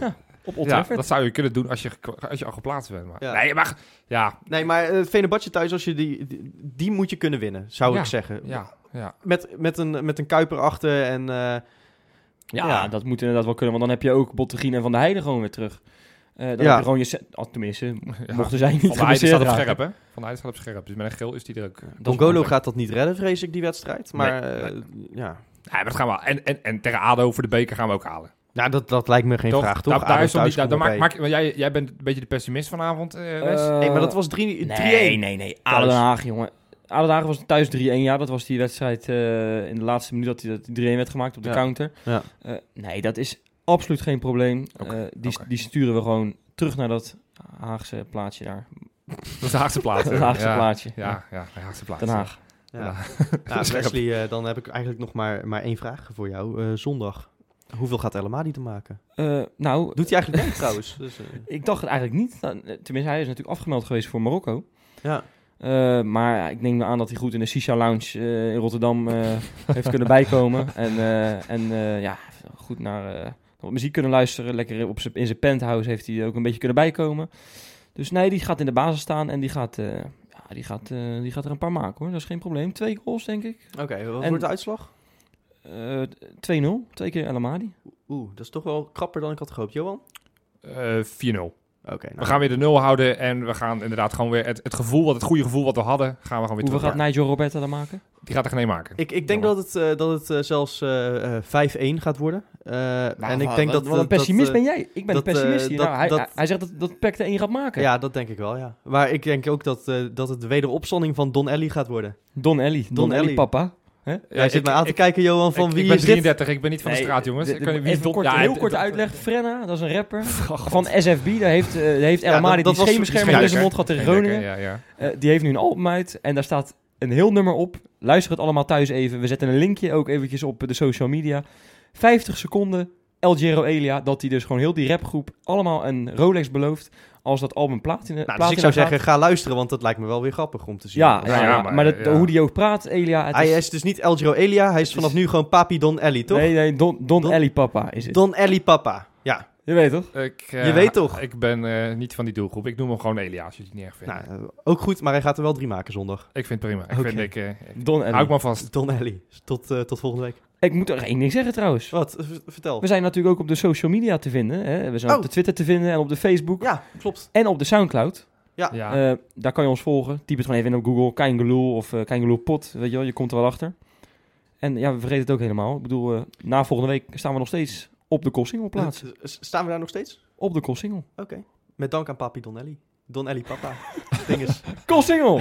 [SPEAKER 3] ja, op Old
[SPEAKER 4] Ja,
[SPEAKER 3] Trafford.
[SPEAKER 4] dat zou je kunnen doen als je, ge- als je al geplaatst bent. Maar.
[SPEAKER 2] Ja.
[SPEAKER 4] Nee, maar ja,
[SPEAKER 2] Nee, maar eh, Fenerbahce thuis, als je die, die, die moet je kunnen winnen, zou
[SPEAKER 4] Ja,
[SPEAKER 2] ik zeggen.
[SPEAKER 4] ja, ja.
[SPEAKER 2] Met, met, een, met een Kuiper achter en... eh,
[SPEAKER 3] Ja,
[SPEAKER 2] Ja.
[SPEAKER 3] dat moet inderdaad wel kunnen, want dan heb je ook Bottegien en Van der Heijden gewoon weer terug. Eh, dan
[SPEAKER 2] Ja.
[SPEAKER 3] heb je gewoon je... se- ah, tenminste,
[SPEAKER 4] Ja.
[SPEAKER 3] mochten zij niet
[SPEAKER 4] Van de Heijden staat
[SPEAKER 3] geblesseerd
[SPEAKER 4] op
[SPEAKER 3] raken.
[SPEAKER 4] scherp, hè? Van de Heijden staat op scherp. Dus met een geel is die er ook. Nee,
[SPEAKER 3] Dat is
[SPEAKER 2] Gongolo
[SPEAKER 4] moeilijk.
[SPEAKER 2] gaat dat niet redden, vrees ik, die wedstrijd. Maar
[SPEAKER 4] Nee,
[SPEAKER 2] eh, ja,
[SPEAKER 4] maar dat gaan we al- en, en, en tegen ADO voor de beker gaan we ook halen.
[SPEAKER 2] Nou, dat, dat lijkt me geen
[SPEAKER 4] Toch? Nou,
[SPEAKER 2] vraag, toch?
[SPEAKER 4] Daar, daar
[SPEAKER 2] ADO
[SPEAKER 4] is toch niet,
[SPEAKER 2] thuis
[SPEAKER 4] daar, daar
[SPEAKER 2] komt
[SPEAKER 4] maak,
[SPEAKER 2] erbij.
[SPEAKER 4] maak, want jij, jij bent een beetje de pessimist vanavond, eh Wes.
[SPEAKER 3] Eh,
[SPEAKER 2] Hey, maar dat was 3-1. Drie,
[SPEAKER 3] Nee,
[SPEAKER 2] 3-1.
[SPEAKER 3] nee, nee. Adel Den Haag, jongen. Adel Den Haag was thuis 3-1. Ja, dat was die wedstrijd eh, in de laatste minuut dat die- dat die 3-1 werd gemaakt op de
[SPEAKER 2] Ja.
[SPEAKER 3] counter.
[SPEAKER 2] Ja.
[SPEAKER 3] Eh, nee, dat is absoluut geen probleem.
[SPEAKER 4] Oké,
[SPEAKER 3] Eh, die,
[SPEAKER 4] oké.
[SPEAKER 3] die sturen we gewoon terug naar dat Haagse plaatsje daar.
[SPEAKER 4] dat is de Haagse plaats. hè?
[SPEAKER 3] Dat [LAUGHS] Haagse
[SPEAKER 4] ja.
[SPEAKER 3] plaatsje.
[SPEAKER 4] Ja, ja, de Haagse plaats.
[SPEAKER 3] Den Haag.
[SPEAKER 2] Ja.
[SPEAKER 4] Ja.
[SPEAKER 2] [LAUGHS] Nou, Wesley, eh, dan heb ik eigenlijk nog maar, maar één vraag voor jou. Eh, zondag. Hoeveel gaat Elma die te maken?
[SPEAKER 3] Eh, nou,
[SPEAKER 2] Doet hij eigenlijk niet trouwens? [LAUGHS] Dus, eh,
[SPEAKER 3] ik dacht het eigenlijk niet. Nou, eh, Tenminste, hij is natuurlijk afgemeld geweest voor Marokko.
[SPEAKER 2] ja.
[SPEAKER 3] Eh, maar ik neem aan dat hij goed in de Sisha Lounge eh, in Rotterdam eh, heeft kunnen bijkomen. En, eh, en eh, ja, goed naar eh, wat muziek kunnen luisteren. Lekker op z'n- in zijn penthouse heeft hij ook een beetje kunnen bijkomen. Dus nee, die gaat in de basis staan en die gaat, eh, ja, die gaat, eh, die gaat er een paar maken hoor. Dat is geen probleem. Twee goals denk ik.
[SPEAKER 2] Oké, wat
[SPEAKER 3] En-
[SPEAKER 2] wordt de uitslag?
[SPEAKER 3] Eh, 2-0. Twee keer El Amadi.
[SPEAKER 2] Oeh, dat is toch wel krapper dan ik had gehoopt. Johan?
[SPEAKER 4] Eh, 4-0.
[SPEAKER 2] Oké. nou.
[SPEAKER 4] We gaan weer de nul houden en we gaan inderdaad gewoon weer het, het gevoel, wat, het goede gevoel wat we hadden, gaan we gewoon weer
[SPEAKER 3] Hoeveel
[SPEAKER 4] terug.
[SPEAKER 3] gaat Nigel Roberta dan maken?
[SPEAKER 4] Die gaat er geen een maken.
[SPEAKER 2] Ik, ik denk
[SPEAKER 4] Jammer.
[SPEAKER 2] dat het, eh, dat het eh, zelfs eh, eh, 5-1 gaat worden. Eh, en ik
[SPEAKER 3] wat-
[SPEAKER 2] denk
[SPEAKER 3] wat-
[SPEAKER 2] dat...
[SPEAKER 3] wat een
[SPEAKER 2] dat-
[SPEAKER 3] pessimist
[SPEAKER 2] dat, eh,
[SPEAKER 3] ben jij. Ik ben
[SPEAKER 2] dat,
[SPEAKER 3] de pessimist
[SPEAKER 2] eh,
[SPEAKER 3] hier.
[SPEAKER 2] dat-
[SPEAKER 3] Nou, hij,
[SPEAKER 2] dat-
[SPEAKER 3] hij- hij zegt dat, dat Peck de 1 gaat maken.
[SPEAKER 2] Ja, dat denk ik wel, ja. Maar ik denk ook dat, eh, dat het de wederopstanding van Don Ellie gaat worden.
[SPEAKER 3] Don Ellie. Don,
[SPEAKER 2] Don
[SPEAKER 3] Ellie
[SPEAKER 2] Ellie.
[SPEAKER 3] papa.
[SPEAKER 2] Jij zit
[SPEAKER 4] ik-
[SPEAKER 2] me aan te
[SPEAKER 4] ik-
[SPEAKER 2] kijken, Johan, van
[SPEAKER 4] ik,
[SPEAKER 2] wie
[SPEAKER 4] ik ben
[SPEAKER 2] is dit?
[SPEAKER 4] 33, ik ben niet van de
[SPEAKER 3] Nee,
[SPEAKER 4] straat, jongens.
[SPEAKER 3] de-
[SPEAKER 4] Ik kan
[SPEAKER 3] de-
[SPEAKER 4] wie is
[SPEAKER 3] even
[SPEAKER 4] Don-
[SPEAKER 3] kort,
[SPEAKER 4] Ja,
[SPEAKER 3] heel
[SPEAKER 4] d-
[SPEAKER 3] kort
[SPEAKER 4] d-
[SPEAKER 3] uitleg. Frenna, dat is een rapper
[SPEAKER 4] Oh, God.
[SPEAKER 3] van SFB. Daar heeft, eh, daar heeft El
[SPEAKER 2] Ja,
[SPEAKER 3] Amadi
[SPEAKER 2] dat- dat
[SPEAKER 3] die
[SPEAKER 2] was-
[SPEAKER 4] Geen
[SPEAKER 3] scheenbeschermer in
[SPEAKER 4] lekker,
[SPEAKER 3] zijn mond gehad tegen
[SPEAKER 4] geen lekker,
[SPEAKER 3] Groningen.
[SPEAKER 4] ja, ja.
[SPEAKER 3] Eh, die heeft nu een album uit en daar staat een heel nummer op. Luister het allemaal thuis even. We zetten een linkje ook eventjes op de social media. 50 seconden El Giro Elia, dat hij dus gewoon heel die rapgroep allemaal een Rolex belooft als dat album platina,
[SPEAKER 2] Nou, dus ik
[SPEAKER 3] platina
[SPEAKER 2] zou
[SPEAKER 3] gaat.
[SPEAKER 2] zeggen, ga luisteren, want dat lijkt me wel weer grappig om te zien.
[SPEAKER 3] Ja,
[SPEAKER 4] Ja,
[SPEAKER 3] ja,
[SPEAKER 4] ja,
[SPEAKER 3] maar,
[SPEAKER 4] maar,
[SPEAKER 3] dat-
[SPEAKER 4] ja.
[SPEAKER 3] hoe die ook praat, Elia. het
[SPEAKER 2] hij
[SPEAKER 3] is-
[SPEAKER 2] is dus niet El Giro Elia, hij is
[SPEAKER 3] is-
[SPEAKER 2] vanaf nu gewoon Papi Don Ellie, toch?
[SPEAKER 3] Nee, nee, Don, Don,
[SPEAKER 2] Don-
[SPEAKER 3] Ellie Papa is het.
[SPEAKER 2] Don Ellie Papa, ja.
[SPEAKER 3] Je weet toch?
[SPEAKER 4] Ik, eh,
[SPEAKER 2] Je weet toch?
[SPEAKER 4] Ik ben eh, niet van die doelgroep. Ik noem hem gewoon Elia, als je het niet erg vindt.
[SPEAKER 2] Nou, eh, ook goed, maar hij gaat er wel drie maken zondag. [LAUGHS]
[SPEAKER 4] ik vind het prima. Ik
[SPEAKER 2] Oké.
[SPEAKER 4] vind, ik, eh, ik-
[SPEAKER 3] Don Ellie.
[SPEAKER 4] hou ik maar vast.
[SPEAKER 2] Don Ellie, tot, eh, tot volgende week.
[SPEAKER 3] Ik moet er één ding zeggen trouwens.
[SPEAKER 2] Wat? V- vertel.
[SPEAKER 3] We zijn natuurlijk ook op de social media te vinden. Hè? We zijn op
[SPEAKER 2] Oh.
[SPEAKER 3] de Twitter te vinden en op de Facebook.
[SPEAKER 2] Ja, klopt.
[SPEAKER 3] En op de Soundcloud.
[SPEAKER 4] Ja.
[SPEAKER 3] Eh, daar kan je ons volgen. Typ het gewoon even in op Google. Kangaloo of uh, Pot. Weet je wel, je komt er wel achter. En ja, we vergeten het ook helemaal. Ik bedoel, eh, na volgende week staan we nog steeds op de Kossingel plaatsen.
[SPEAKER 2] Eh, s- Staan we daar nog steeds?
[SPEAKER 3] Op de Kossingel. [LAUGHS]
[SPEAKER 2] Oké. Met dank aan Papi Don Ellie. Don Ellie Papa. Dinges.
[SPEAKER 3] Kossingel!